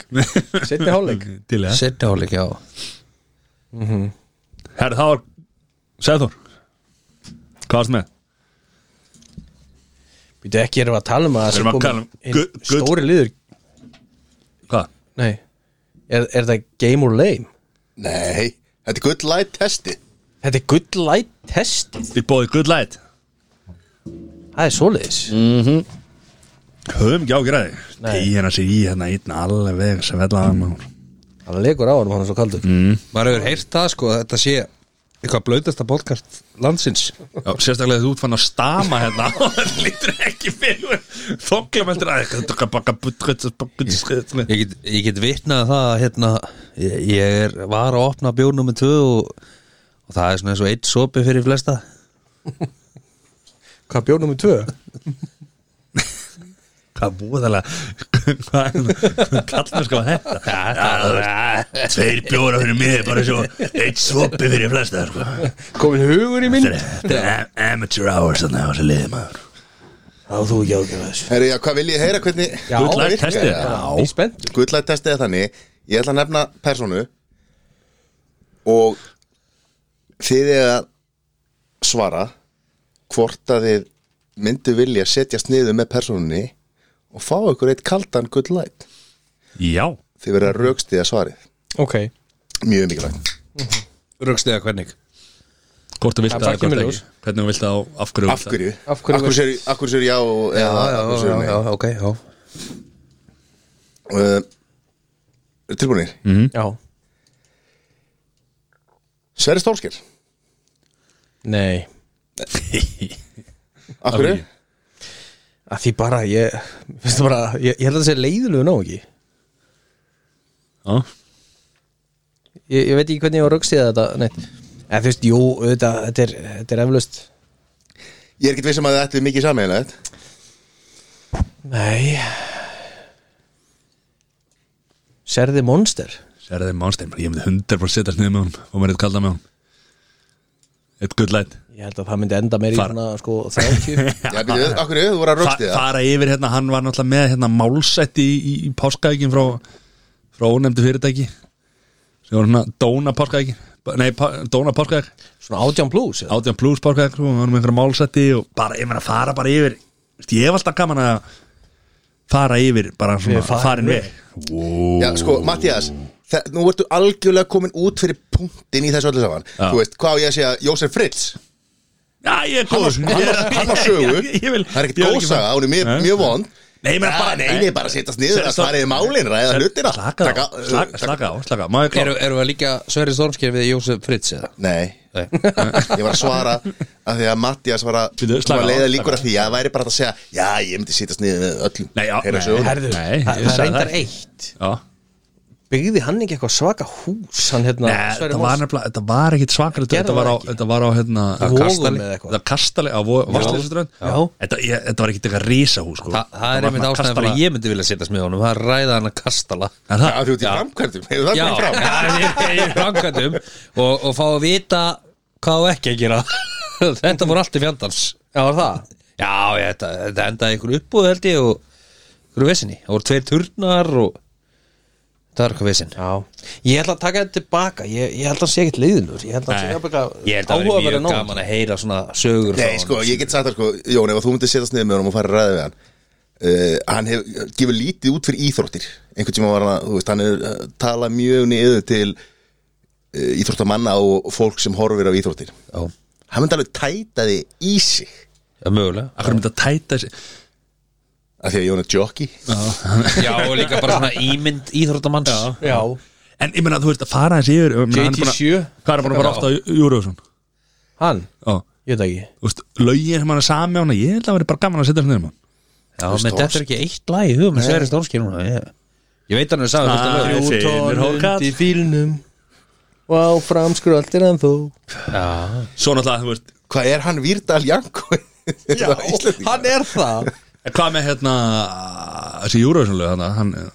Speaker 2: setni hálfleik
Speaker 1: Til ég
Speaker 3: setja hálf ekki á
Speaker 1: Herð, þá var Sæður Hvað varst með?
Speaker 2: Býtu ekki erum við að tala um að það
Speaker 1: Við
Speaker 2: sé
Speaker 1: erum að
Speaker 2: kominn
Speaker 1: tala um
Speaker 2: hinn
Speaker 1: good- good-
Speaker 2: Stóri liður
Speaker 1: Hvað?
Speaker 2: Nei, er, er það game or lame?
Speaker 4: Nei, þetta er gull light testi
Speaker 2: Þetta er good light testið
Speaker 1: Þið bóðið good light
Speaker 2: Það er svoleiðis
Speaker 1: Höfum ekki ágræði
Speaker 2: Nei.
Speaker 1: Tíðina sér í hérna einn alveg sem vellaðan maður
Speaker 2: Það leikur á hann og hann er svo kaldur mm.
Speaker 3: Maður hefur heyrt það, sko, að þetta sé eitthvað blautasta podcast landsins
Speaker 1: Já, sérstaklega þú ert fann að stama hérna *laughs* og þetta lítur ekki fyrir þoklum heldur að
Speaker 3: Ég get, ég get vitnað það að, hérna, ég, ég er, var að opna bjór nummer 2 og, og það er svona eins og eitt sopi fyrir flesta
Speaker 2: Hvað bjóð nummer tvö?
Speaker 1: Hvað búðalega Hvað kallmennska var þetta Já, þú veist, Tveir bjóra fyrir mig bara svo eitt sopi fyrir flesta sko.
Speaker 2: Komin hugur í minn
Speaker 1: Þetta er- Þetta er am- amateur hours þannig að þessi liði maður
Speaker 2: Á þú ekki ágjörða þessu
Speaker 4: Herri, já, hvað vil ég heyra hvernig
Speaker 2: Já,
Speaker 1: Good
Speaker 4: það
Speaker 1: luck
Speaker 4: virkar?
Speaker 1: testið.
Speaker 2: Ég er spennt
Speaker 4: Gull light testið er þannig Ég ætla að nefna personu og þið er að svara hvort að þið myndu vilja setjast niður með personunni og fá ykkur eitt kaldan gull light
Speaker 1: Já
Speaker 4: þið verða raukstiða svarið
Speaker 2: Ok
Speaker 4: mjög mikilvægt
Speaker 3: Röggstega hvernig
Speaker 1: Hvort þú vilt
Speaker 2: Það
Speaker 1: það,
Speaker 2: kemur
Speaker 1: hvort
Speaker 2: ljós.
Speaker 1: ekki Hvernig þú vilt það og af hverju þú
Speaker 4: af
Speaker 1: vilt það.
Speaker 4: hverju,
Speaker 2: Af hverju-
Speaker 4: sér, af hverju sér já og,
Speaker 3: Já,
Speaker 4: eða,
Speaker 3: já,
Speaker 4: af hverju
Speaker 3: já,
Speaker 4: sér
Speaker 3: já, ok, já
Speaker 4: nei uh, tilbúinir
Speaker 1: Mhm.
Speaker 2: Já
Speaker 4: Sverri Stórsker,
Speaker 2: Nei
Speaker 4: af hverju
Speaker 2: Að því bara ég *laughs* Finnst það bara Ég, ég held að það sé leiðilegu ná ekki
Speaker 1: Já.
Speaker 2: ég, ég veit ekki hvernig ég var röggst í þetta Nei En þú veist, jú, þetta, þetta er, þetta er eflaust
Speaker 4: ég er ekkert vissum að þið ættu mikið sammeðilegt
Speaker 2: Nei Serði Monster
Speaker 1: Sérði Mánstein, ég myndi 100% setjast niður með hún og mér eitt kalda með hún Eitt good light
Speaker 2: Ég held að það myndi enda meir í
Speaker 1: Far-
Speaker 2: svona sko 30
Speaker 4: *laughs* já, býtu, af hverju, þú voru að
Speaker 1: Fa-
Speaker 4: raukstiða
Speaker 1: fara yfir hérna, hann var náttúrulega með hérna málsætti í, í, í páskaækin frá, frá ónefndu fyrirtæki sem var hérna Dóna páskaækin nei, pá, Dóna páskaæk
Speaker 2: Svona 18 plus eða?
Speaker 1: Átján Plus páskaæk, og hann var með einhverja málsætti og bara, ég meina, fara bara yfir Vist, ég hef alltaf gaman að fara yfir, bara svona,
Speaker 2: Við farin
Speaker 1: farin
Speaker 2: veg.
Speaker 1: veg wow.
Speaker 4: já, sko, Mattias þa- nú ertu algjörlega komin út fyrir punktin í þessu öllu saman
Speaker 1: Já.
Speaker 4: þú veist, hvað á ég að segja, Jósef Fritz
Speaker 1: já, ég er góð
Speaker 4: hann
Speaker 1: Ég- *laughs*
Speaker 4: var- hann var sögu,
Speaker 1: ég- ég- ég vil-
Speaker 4: það er
Speaker 1: ég
Speaker 4: ekkert
Speaker 1: vil ekki
Speaker 4: góðsaga,
Speaker 1: fara-
Speaker 4: hún er mjög,
Speaker 1: Nei.
Speaker 4: mjög vond
Speaker 1: Nei, ég meina bara-
Speaker 4: nei, nei, bara setjast niður
Speaker 1: Sel-
Speaker 4: að svaraði málin, ræða
Speaker 1: Sel-
Speaker 4: hlutina
Speaker 1: slaka á,
Speaker 4: Taka-
Speaker 1: slaka- slaka á, slaka á, má ég klára
Speaker 3: Eru, eru við líka Sverri Stormsker við Jósef Fritz eða?
Speaker 4: Nei,
Speaker 3: Nei.
Speaker 4: ég var að svara að því að Mattias var að,
Speaker 1: Bíddu,
Speaker 4: var
Speaker 1: slaka
Speaker 4: að
Speaker 1: á,
Speaker 4: leiða
Speaker 1: slaka
Speaker 4: líkur
Speaker 1: á.
Speaker 4: að því að það væri bara hægt að segja já, ég myndi sýtast niður með öllum
Speaker 1: Nei, já,
Speaker 4: Heyra
Speaker 1: nei,
Speaker 4: söguna.
Speaker 1: Nei,
Speaker 2: það
Speaker 1: ég
Speaker 2: það
Speaker 1: sagði
Speaker 2: reyndar
Speaker 1: það.
Speaker 2: eitt
Speaker 1: Já.
Speaker 2: byggði hann ekki eitthvað svaka hús hann hérna
Speaker 1: Nei,
Speaker 2: Sverrir
Speaker 1: þetta
Speaker 2: Más?
Speaker 1: var nefnilega, þetta var ekkit svakalegt
Speaker 2: Gerðu
Speaker 1: Þetta var á,
Speaker 2: það ekki?
Speaker 1: þetta var á hérna
Speaker 2: Vogum
Speaker 1: Kastali-
Speaker 2: eða eitthvað.
Speaker 1: Þetta kastali, á Vastlýsuströnd
Speaker 2: Já.
Speaker 1: þetta, ég- þetta var ekkit eitthvað risahús sko.
Speaker 3: Þa, það er einmitt ástæðan fyrir að ég myndi vilja sittast með honum Það er ræða hann að kastala
Speaker 1: En það,
Speaker 4: Það er út í framkvæmdum, hefur það
Speaker 3: Já,
Speaker 4: komið
Speaker 3: *laughs*
Speaker 4: fram
Speaker 3: ég er framkvæmdum og, og fá að vita hvað á ekki að gera *laughs* Þetta voru allt í fjandans
Speaker 2: Já, var það?
Speaker 3: Já, ég, þetta, þetta endaði ykkur uppbúð held ég og ykkur vesinni Það voru tveir turnar og það var eitthvað vesin
Speaker 2: Já Ég ætla að taka þetta tilbaka Ég, ég held að hann sé ekkit leiðinur Ég held að
Speaker 3: Nei,
Speaker 2: hann sé
Speaker 3: Ég held að það verið
Speaker 2: áhugaverður
Speaker 3: mjög
Speaker 2: náungi.
Speaker 3: gaman að heyra svona sögur frá
Speaker 4: Nei,
Speaker 3: honum.
Speaker 4: sko, ég get sagt það sko, Jón, ef þú myndir setjast niður með honum og fara að ræða við hann uh, hann hefur gefur lítið út fyrir íþróttir einhvern tíma var hann að, þú veist, hann er uh, tala mjög niður til uh, íþróttamanna og fólk sem horfir á íþróttir
Speaker 3: Já,
Speaker 4: hann myndi alveg tæta þig í sig
Speaker 3: ja, mögulega
Speaker 1: akkur myndi að tæta þessi
Speaker 4: af því að Jón er jockey
Speaker 3: Já, og líka bara svona ímynd íþróttamanns
Speaker 2: Já
Speaker 1: En ég meina, þú veist að fara þessi yfir ég meina, hann er búinn að-
Speaker 2: 87.
Speaker 1: Hvað er búin að fara oft á Júruðsson?
Speaker 2: Hann?
Speaker 1: Já,
Speaker 2: Ég veit það ekki
Speaker 1: þú veist, lögin sem hann er sami á hana Ég held að það verið bara gaman að setja hérna. þessi nefnum
Speaker 3: Já, menn þetta er ekki eitt lag í hugum en Sverri Stórski núna ég, ég veit hann er sagði
Speaker 1: Ah,
Speaker 3: fullt af lögum.
Speaker 1: Þrjú tonn
Speaker 2: í fílnum Og áfram skröldir en þú
Speaker 1: Svo náttúrulega, þú veist
Speaker 4: hvað er hann Výrdal Janko
Speaker 2: Já, hann er það
Speaker 1: En hvað með hérna þessi Júruðsson lög hann, hann eh,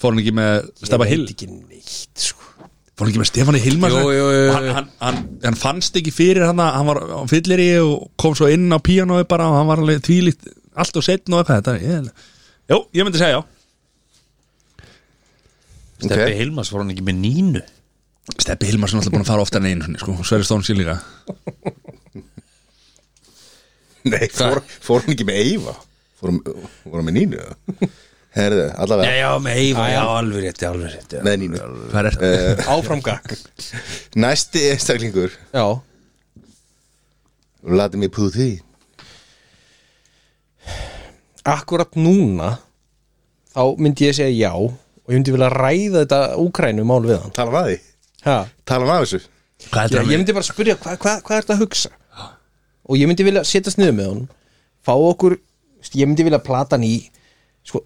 Speaker 1: Fór hann ekki með Stefán Hill
Speaker 2: Ekki neitt, sko
Speaker 1: Fór hann ekki með Stefáni Hilmar
Speaker 3: Jú, jú, jú, jú.
Speaker 1: Hann, hann, hann, hann fannst ekki fyrir hann að Hann var á fyllir í og kom svo inn á píanói bara Og hann var alveg tvílíkt Allt og setn og eitthvað þetta er- ég, Jó, ég myndi segja já
Speaker 3: Steppi Hilmas var hann ekki með nínu
Speaker 1: Steppi Hilmarsson er alltaf búin að fara ofta en einu sinni, sko, Sverri Stón sín líka
Speaker 4: Nei, fór, fór hann ekki með Eyva fór, hann- fór hann með Nínu eða? herðu,
Speaker 3: Já,
Speaker 4: allavega
Speaker 3: já, með Eiva, já, alveg rétti, alveg rétti
Speaker 4: með Nínu
Speaker 1: Hvað er
Speaker 4: Eh.
Speaker 1: þetta?
Speaker 2: Áfram gakk
Speaker 4: næsti einstaklingur
Speaker 2: Já
Speaker 4: Vladimir Putin
Speaker 2: Akkurat núna Þá myndi ég segja já Og ég myndi vilja ræða þetta úkrænu mál við hann
Speaker 4: tala um að því,
Speaker 2: Ha
Speaker 4: tala um að þessu
Speaker 1: Hvað
Speaker 2: Já,
Speaker 1: heldur
Speaker 2: ég
Speaker 1: hann?
Speaker 2: myndi bara spyrja hvað hva, hva er þetta að hugsa og ég myndi vilja setjast niður með honum fá okkur, veist, ég myndi vilja plata hann í sko,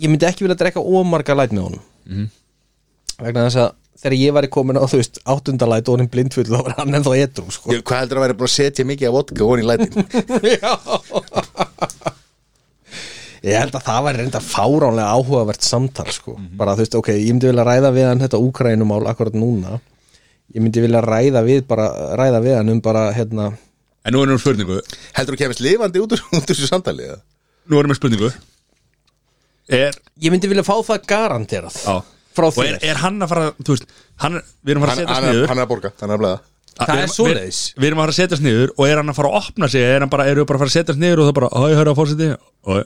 Speaker 2: ég myndi ekki vilja drekka ómarga læt með honum vegna þess að þegar ég var í komin á þú veist áttunda læt og honum blindfull þá var hann ennþá etru sko.
Speaker 4: Ég- Hvað heldur að vera búin að setja mikið af vodka og í lætin?
Speaker 2: *laughs* Já Ég held að það var reynda fáránlega áhugavert samtal sko. bara þú veist, ok, ég myndi vilja ræða við hann þetta úkrænumál akkurat núna ég myndi vilja ræða við bara ræða við hann um bara, hérna
Speaker 1: En nú erum við spurningu
Speaker 4: heldur þú kemist lifandi út úr, út úr þessu samtali? eða?
Speaker 1: Nú erum við spurningu Er,
Speaker 2: ég myndi vilja fá það garanterað
Speaker 1: á
Speaker 2: frá
Speaker 1: Og
Speaker 2: þér
Speaker 1: er, er hann að fara, þú veist hann, er- Við erum að fara að
Speaker 4: Hann,
Speaker 1: setjast
Speaker 4: hann, er-
Speaker 1: niður
Speaker 4: hann er að borga, hann er að blæða
Speaker 1: Að-
Speaker 2: Það
Speaker 1: við
Speaker 2: er
Speaker 1: erum-
Speaker 2: svoleiðis.
Speaker 1: Við, við erum að fara að setjast niður og er hann að fara að opna sig er hann bara, erum við bara að fara að setjast niður og það bara, hæ, hörðu að fórseti og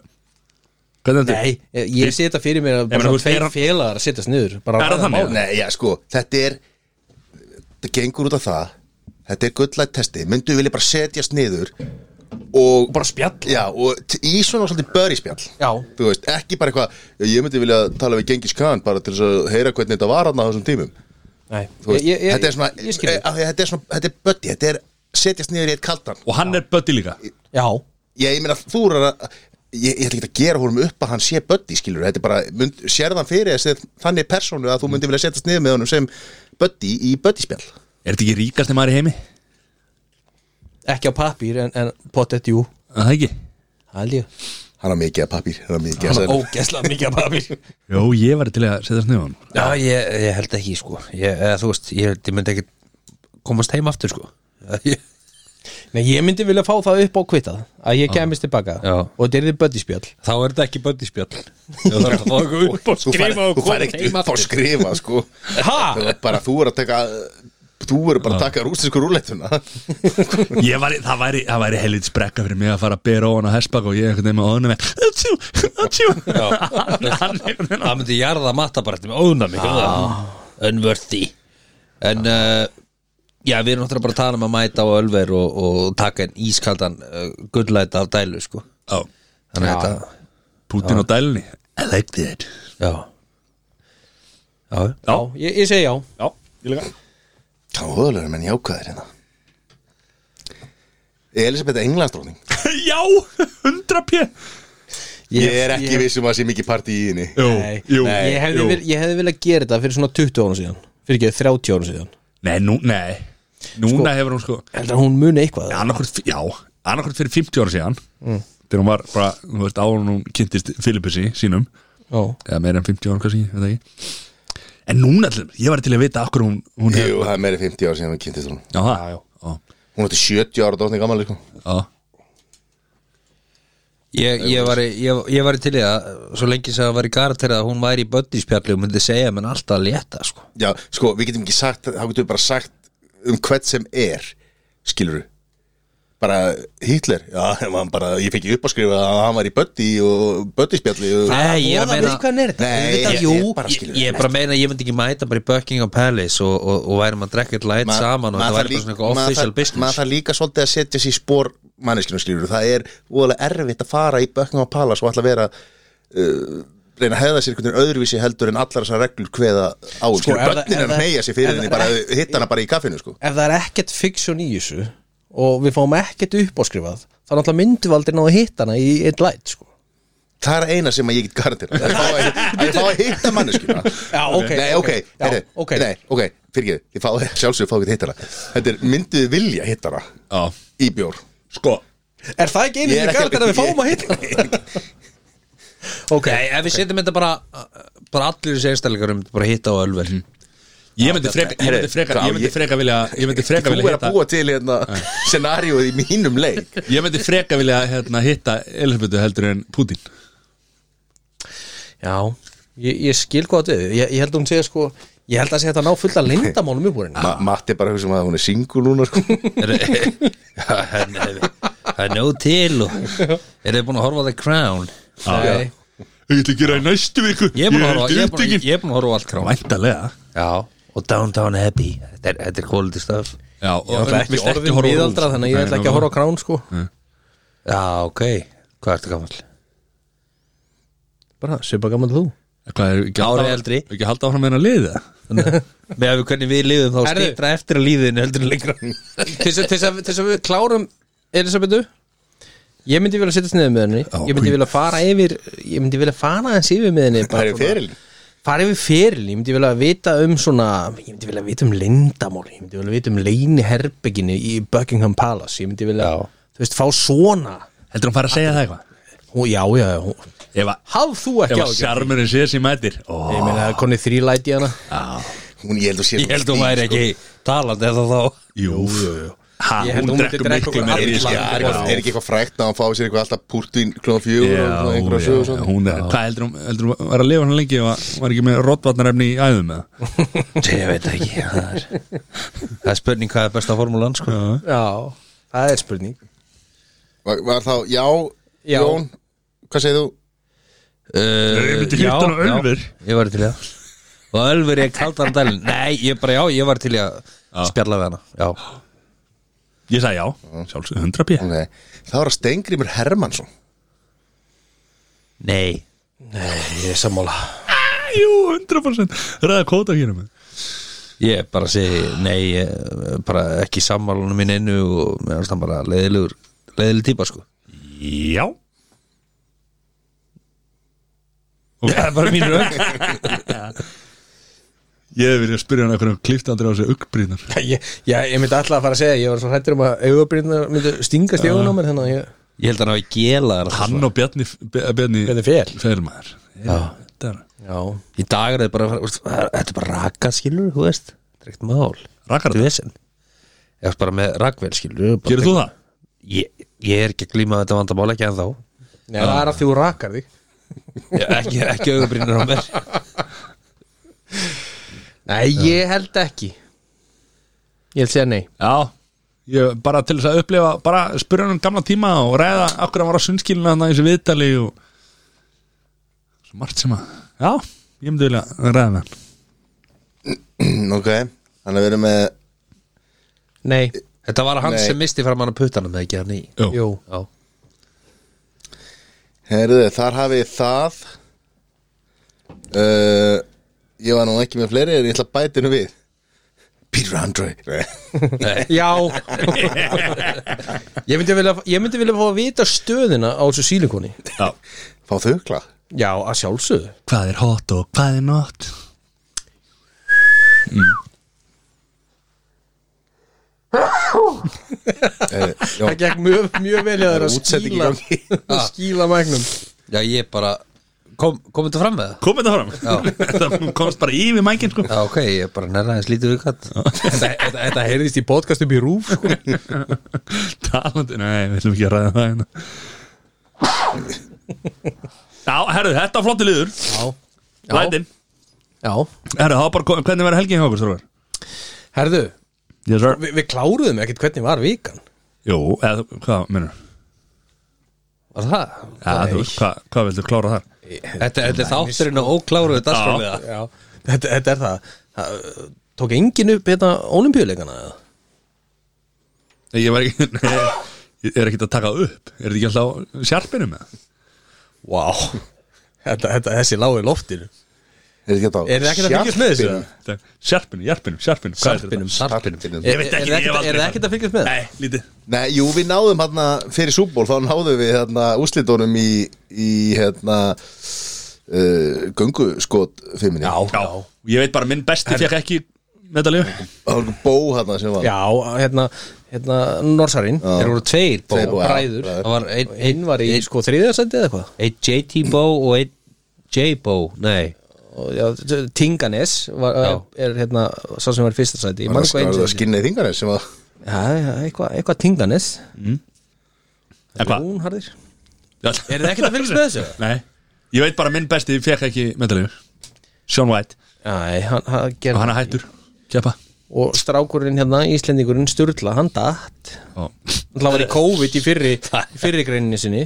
Speaker 1: hvernig þetta?
Speaker 2: nei, ég- ég sé þetta fyrir mér að
Speaker 1: meina,
Speaker 2: bara
Speaker 1: þú
Speaker 2: svona
Speaker 1: veist, er
Speaker 2: tveir
Speaker 1: hann-
Speaker 2: félagar að setjast niður bara
Speaker 1: Er það
Speaker 2: ræða
Speaker 1: þannig?
Speaker 2: málið.
Speaker 4: Nei, já, sko, þetta er Þetta gengur út af það Þetta er gullætt testi, myndu vilja bara setjast niður Og
Speaker 2: bara spjall
Speaker 4: Já, og t- í svona svolítið börispjall
Speaker 2: Já.
Speaker 4: Þú veist, ekki bara eitthvað "Já, Ég myndi vilja tala við Gengis Khan bara til þess að heyra hvernig þetta var hann á þessum tímum
Speaker 2: Nei.
Speaker 4: Þú veist,
Speaker 2: Ég- ég-
Speaker 4: Þetta er svona,
Speaker 2: ég- ég skil
Speaker 4: eh,
Speaker 2: þig.
Speaker 4: af því að þetta er svona Þetta er buddy, þetta er setjast niður í eitt kaldan
Speaker 1: Og hann er Böddi líka
Speaker 2: já,
Speaker 4: Ég, ég meina, þú er að Ég, ég ætla ekki að gera honum upp að hann sé buddy skilur Þetta er bara, mynd, sérðan fyrir þessi þannig persónu að þú myndi vilja setjast niður með honum sem buddy í buddyspjall
Speaker 1: Er þetta ekki ríkasti maður í heimi?
Speaker 2: ekki á pappír en, en pottet jú
Speaker 1: Er Það ekki?
Speaker 2: held ég
Speaker 4: Hann á mikið að pappír, hann á mikið að
Speaker 2: Hann er
Speaker 4: seðlum.
Speaker 2: ógeðslega mikið af pappír
Speaker 1: Jó, ég var til að setjast niður á hann
Speaker 3: Já, ég, ég held ekki, sko ég, eða, Þú veist, ég, held- ég myndi ekki komast heim aftur, sko *laughs* Já, ég-
Speaker 2: Nei, ég myndi vilja fá það upp á kvitað að ég kemist tilbaka
Speaker 3: Já.
Speaker 2: og þetta er þið böddispjall
Speaker 3: Þá er þetta ekki böndisbjall Þú þarf að fá okkur upp og
Speaker 4: Þú fær-
Speaker 3: skrifa og
Speaker 4: þú fær
Speaker 3: koma
Speaker 4: ekkert
Speaker 3: heim
Speaker 4: upp á
Speaker 3: aftur
Speaker 4: skrifa sko.
Speaker 2: Ha?
Speaker 4: Það er bara, Þú er að taka Þú er bara
Speaker 2: Ah.
Speaker 4: að taka rústinsku rúleituna
Speaker 1: Ég var, það væri, það væri helvits brekka fyrir mig að fara að bera ofan á hessbak og ég einhvern veginn með óðunum með Atsjú, atsjú *laughs* Hann hann einhvern veginn á
Speaker 3: Það myndi jarða matabrættum óna mig Unworthy En uh, Já, við erum náttúrulega bara að tala um að mæta á ölver og, og taka en ískaldan uh, gullæta af dælu, sko
Speaker 1: Á,
Speaker 3: Þannig að þetta
Speaker 1: Putin og dælni I liked *laughs* it
Speaker 3: Já Já,
Speaker 2: já, ég, ég segi já
Speaker 1: Já, ég líka
Speaker 4: Káðulegur menn jákvæðir hérna Elisabeth Englandsdróning
Speaker 1: Já, 100 p
Speaker 4: Ég er ekki viss um að sé mikið partí í henni
Speaker 1: Jú,
Speaker 2: Nei,
Speaker 1: jú,
Speaker 2: nei. Ég, hefði
Speaker 1: jú.
Speaker 2: vil, ég hefði viljað gera þetta fyrir svona 20 árum síðan Fyrir ekki 30 árum síðan
Speaker 1: Nei, nú, nei Núna hefur hún sko
Speaker 2: Heldur að hún muni eitthvað
Speaker 1: annarkvort, Já, annarkvort fyrir 50 ára síðan
Speaker 2: Mm.
Speaker 1: Þegar hún var bara, þú veist, áður en hún kynntist Filippusi sínum
Speaker 2: Já,
Speaker 1: Eða meira en 50 ára kannski, veit það ekki En núna, til- ég var til að vita akkur hún, hún
Speaker 4: Jú, það er meiri 50 ár síðan hún kynntist hún
Speaker 1: Já, það, já, já,
Speaker 4: Hún átti 70 ára dóttin gammal sko.
Speaker 1: já.
Speaker 3: Ég, ég, var, ég, ég var til í það svo lengi sem það var í karakterið að hún væri í böndinspjalli og myndi segja menn alltaf að létta sko.
Speaker 4: Já, sko, við getum ekki sagt Þá getum við bara sagt um hvert sem er Skilur Bara Hitler, já, *laughs* hann bara Ég fekk ég upp að skrifa að hann var í bötti og böttispjalli og...
Speaker 3: Nei, ég er
Speaker 2: voða
Speaker 3: að meina
Speaker 2: virkan er þetta.
Speaker 4: Nei,
Speaker 3: Ég,
Speaker 4: ég,
Speaker 3: jú,
Speaker 4: ég bara
Speaker 3: ég,
Speaker 4: skilur
Speaker 3: ég er bara að meina að ég myndi ekki mæta bara í Buckingham Palace og, og, og værum að drekka eitt læt
Speaker 4: Ma-
Speaker 3: saman og það
Speaker 4: maður þarf
Speaker 3: væri bara svona eitthvað
Speaker 4: líka- maður
Speaker 3: official
Speaker 4: þarf- maður
Speaker 3: business
Speaker 4: þarf líka svolítið að setja sér í spór manneskinu skilur það er óalega erfitt að fara í Buckingham Palace og ætla að vera uh, reyna að hefða sér einhvern veginn öðruvísi heldur en allar þessar reglur hveða á sko,
Speaker 2: ef það-
Speaker 4: bönnin
Speaker 2: ef
Speaker 4: er að
Speaker 2: það-
Speaker 4: meia sér fyrir
Speaker 2: ef
Speaker 4: henni
Speaker 2: það-
Speaker 4: bara hitta hana bara í kaffinu sko.
Speaker 2: ef það er ekkert fiksjón í þessu Og við fáum ekkert uppáskrifað Þá náttúrulega myndum við aldrei náðu hittana í einn læt sko.
Speaker 4: það er eina sem að ég get garantera að ég fá að- að ég fá að hitta manneskinu
Speaker 2: Já, ok,
Speaker 4: nei,
Speaker 2: ok,
Speaker 4: ok,
Speaker 2: já,
Speaker 4: heyrðu,
Speaker 2: ok.
Speaker 4: nei, ok, fyrir ekki, ég fá *laughs* sjálfsögur fá ekki að hitta hana þetta er myndið vilja hitta hana
Speaker 1: já.
Speaker 4: í bjór
Speaker 1: Sko,
Speaker 2: Er það ekki einu
Speaker 4: Ég er
Speaker 2: sem
Speaker 4: ekki-
Speaker 2: gælt að við *laughs* fáum að
Speaker 4: ég-
Speaker 2: hitta Ok,
Speaker 3: Nei, ef við setjum þetta bara bara allir þessi einstællingar um bara hitta á ölver
Speaker 2: Mhm.
Speaker 1: ég myndi freka, ég myndi freka, ég myndi freka vilja Ég myndi freka
Speaker 4: þú
Speaker 1: vilja
Speaker 4: er að
Speaker 1: hitta
Speaker 4: búa til hérna scenarióið í mínum leik
Speaker 1: Ég myndi freka vilja hérna, hitta Elisabetu heldur en Putin
Speaker 2: já Ég, ég skil hvað þetta við, ég, ég held að hún segja sko Ég held að segja þetta ná fullt að lindamálum upp úr henni
Speaker 4: Ma Matti er bara að hugsa um að hún er single
Speaker 3: *laughs*
Speaker 4: núna sko.
Speaker 3: Það er nóg til og er þið búin að horfa á The Crown
Speaker 2: Nei,
Speaker 1: Ég ætla að gera í næstu viku
Speaker 3: Ég er búin að horfa ég er búinn- ég er búin að horfa á allt Crown
Speaker 1: Væntalega
Speaker 3: Já, og Downtown Abbey Þetta er, þetta er quality stuff
Speaker 1: Já,
Speaker 3: Ég ætla ekki hérna,
Speaker 1: viltu
Speaker 2: orðin
Speaker 1: horfa á
Speaker 2: viðaldra
Speaker 1: Rúf?
Speaker 2: þannig að ég
Speaker 1: Nei,
Speaker 2: ætla ekki að
Speaker 1: nei,
Speaker 2: horfa á krán sko
Speaker 3: Mm. Já, ok, hvað ertu gammal?
Speaker 2: Bara, svipa gammal þú
Speaker 1: Hvað er ekki að
Speaker 3: Ári
Speaker 1: halda áfram-
Speaker 3: eldri.
Speaker 1: Ekki að halda áfram með hennar liða
Speaker 3: Með að við hvernig við líðum þá
Speaker 2: Herðu.
Speaker 3: stýttra eftir að líðinu heldur en lengra
Speaker 2: Til þess að- til þess að til þess að við klárum Elisabetu Ég myndi vilja setja sniðið með henni Ég myndi vilja fara yfir Ég myndi vilja fara hans yfir með henni bara
Speaker 4: Það er
Speaker 2: svona-
Speaker 4: fyrirlin
Speaker 2: fara yfir feril, ég myndi vel að vita um svona, ég myndi vel að vita um lindamál, ég myndi vel að vita um leini herbygginu í Buckingham Palace, ég myndi vel að, þú veist, fá svona
Speaker 1: Heldur hún fara að segja það eitthvað?
Speaker 2: hún, já, já, já, hún,
Speaker 1: Ef að-
Speaker 2: haf þú
Speaker 1: ef
Speaker 2: ekki á
Speaker 1: að sjarmurinn sé sem mætir Ó,
Speaker 2: ég meina, konni þrýlæti hana
Speaker 4: Hún ég held að sé
Speaker 3: Ég held að hún væri ekki talandi eða þá
Speaker 1: sko. Jú Ha,
Speaker 2: Ég held
Speaker 1: hún
Speaker 2: hún myndi
Speaker 1: drekkur
Speaker 2: drekka
Speaker 1: miklu
Speaker 2: okkur
Speaker 1: meira
Speaker 4: Er
Speaker 1: í
Speaker 4: ekki,
Speaker 1: sig.
Speaker 4: er,
Speaker 1: Já.
Speaker 4: eitthvað, sko. er ekki eitthvað frækt að hann fá sér eitthvað alltaf púrtvín klóðan fjögur og svona
Speaker 1: Já,
Speaker 4: einhverja
Speaker 1: já,
Speaker 4: sögur
Speaker 1: já,
Speaker 4: svona
Speaker 1: hún er, hvað heldur hún, heldur hún var að lifa hann lengi og var- var ekki með rottvarnarefni í æðum með það?
Speaker 3: Ég veit ekki Það er, það er spurning hvað er besta formúlan sko.
Speaker 2: já, það er spurning
Speaker 4: var, var þá, já,
Speaker 2: Já.
Speaker 4: Jón Hvað segir þú?
Speaker 1: Ég myndi
Speaker 3: Eh, já,
Speaker 1: hitta hann á
Speaker 3: já,
Speaker 1: Ölver.
Speaker 3: Ég var til í það Og Ölver ég kaldar hann dælin Nei, ég bara já, ég var til í að spjalla við hana Já,
Speaker 1: Ég sagði já, sjálfsög 100 p
Speaker 4: Nei, það var að Stengrimur Hermansson
Speaker 3: nei
Speaker 2: ég er sammála
Speaker 1: Jú, 100% Ræða kóta hér um með
Speaker 3: Ég bara segi, nei, ég, bara ekki sammálunum minn innu og mér finnst hann bara leiðilegur, leiðileg típa sko
Speaker 1: Já
Speaker 3: Það er bara mín rauk
Speaker 1: Ég hef verið að spyrja hann eitthvað um kliftandri á þessu uggbrýnar
Speaker 2: ég, já, ég myndi alltaf að fara að segja, ég var svo hættur um að augabrýnna myndi stinga stjóðun á mér þannig að ég,
Speaker 3: Ég held að hann hafi gelað þér
Speaker 1: Hann og Bjarni, Bjarni
Speaker 2: Bjarni Fel.
Speaker 1: Felmaður Já
Speaker 2: já,
Speaker 3: Í dag er þetta bara, úrst, þetta er bara raka skilur, þú veist Þetta er ekkert mál
Speaker 1: Rakar
Speaker 3: Þetta er
Speaker 1: þetta?
Speaker 3: vesen Ég er bara með rakvel skilur bara-
Speaker 1: Gerir þú það?
Speaker 3: Ég, ég er ekki að glíma þetta vandamál ekki en þá
Speaker 2: já, það er að þú rakar þig
Speaker 3: Ekki, ekki augubrýnir á mér
Speaker 2: nei, ég held ekki ég held segja nei
Speaker 1: Já Ég bara til þess að upplifa, bara spyrja hann um gamla tíma og ræða okkur að vara sunnskilina þannig í þessu viðtali og svo margt sem að Já, ég myndi vilja ræða með hann
Speaker 4: Ok, hann er verið með
Speaker 2: nei,
Speaker 3: Þetta var hann
Speaker 4: Nei.
Speaker 3: sem misti fram hann að putana með ekki hann í
Speaker 1: Jú,
Speaker 2: jú,
Speaker 3: Já,
Speaker 4: Herðu, þar hafið þið það uh, Ég var nú ekki með fleiri en ég ætla að bæta hennu við Peter Andre Nei *laughs*
Speaker 2: Já *laughs* Ég myndi vilja, ég myndi vilja fá að vita stöðina á þessu sílikoni
Speaker 1: Já,
Speaker 4: fá þukla
Speaker 2: Já, að sjálfsögðu
Speaker 1: Hvað er hot og hvað er not
Speaker 2: Það gekk mjög, mjög vel að það er að
Speaker 4: Eh, Útsending í
Speaker 2: skýla *laughs* að skýla mæknum
Speaker 3: Já, ég bara, kom, komum þetta fram með það?
Speaker 1: Komum þetta fram Þetta komst bara yfir mækin sko
Speaker 3: Já, ok, ég bara nærra eins lítið við katt
Speaker 2: Þetta, þetta, þetta heyrðist í podcast upp í rúf sko.
Speaker 1: *laughs* Talandi, nei, við ætlum ekki að ræða það hérna Já, herru, þetta var flotti liður
Speaker 2: Já, já,
Speaker 1: Lætin
Speaker 2: já
Speaker 1: Herru, það var bara, kom- hvernig verður helgin hjá okkur, strókar?
Speaker 2: Herðu,
Speaker 1: Yes, sir
Speaker 2: vi, við kláruðum ekkert hvernig var vikan
Speaker 1: Jú, eða, hvað, minnur?
Speaker 3: Var það?
Speaker 1: Ja, þú veist, hvað, hvað viltu klára þar?
Speaker 3: Þetta, þetta er þátturinn og ókláruðu dagskrámiða
Speaker 2: Já, þetta, þetta er það, það uh, Tók engin upp hérna olimpíuleikana eða?
Speaker 1: Nei, Ég var ekki, *laughs* nei, ég er ekkert að taka upp Er þetta ekki alltaf sjarpinu með það?
Speaker 2: Vá Þetta, þetta, þessi lági loftir
Speaker 4: Er þetta
Speaker 2: Er þið ekkert að fylgjast með þessu?
Speaker 1: Sjarpinu, jarpinu, sjarpinu, hvað er þetta?
Speaker 3: Sarpinum, sarpinum
Speaker 1: Ég veit
Speaker 2: Er
Speaker 1: ekki,
Speaker 2: þið
Speaker 1: ég hef
Speaker 2: ekkert- er
Speaker 1: aldrei
Speaker 2: þið ekkert að fylgjast með?
Speaker 1: Nei, lítið
Speaker 4: Nei, jú, við náðum hérna fyrir súból þá náðum við hérna úslitunum í, í hérna uh, göngu skot fimminni
Speaker 2: Já,
Speaker 1: Já,
Speaker 2: já,
Speaker 1: ég veit bara, minn besti fekk ekki medalíu
Speaker 4: Það var einhver bó hérna sem var
Speaker 2: Já, hérna, hérna Norsarin, þeir voru tveir bó,
Speaker 4: Tveir bó, já,
Speaker 2: bræður
Speaker 4: bræður.
Speaker 3: Það var einn
Speaker 2: og hinn var í
Speaker 3: einn-
Speaker 2: sko þriðasendi eða eitthvað
Speaker 3: einn JT Bó og einn J Bó Nei,
Speaker 2: og já, t- Tinganes var,
Speaker 3: Já.
Speaker 2: er hérna sá sem var í fyrsta sæti
Speaker 4: Það var það skinnið þingarnir sem var
Speaker 2: eitthvað, eitthvað Tinganes
Speaker 1: En hvað?
Speaker 2: hún harðir
Speaker 1: Er
Speaker 2: þið ekkert að fylgjast með þessu?
Speaker 1: Nei, ég veit bara minn besti fekk ekki medalíu Sean White
Speaker 2: Æ, hann, hann
Speaker 1: og
Speaker 2: gerði
Speaker 1: hann er hættur Keppa
Speaker 2: og strákurinn hérna, Íslendingurinn Sturla, hann datt hann var í COVID í fyrri, í fyrri greininni sinni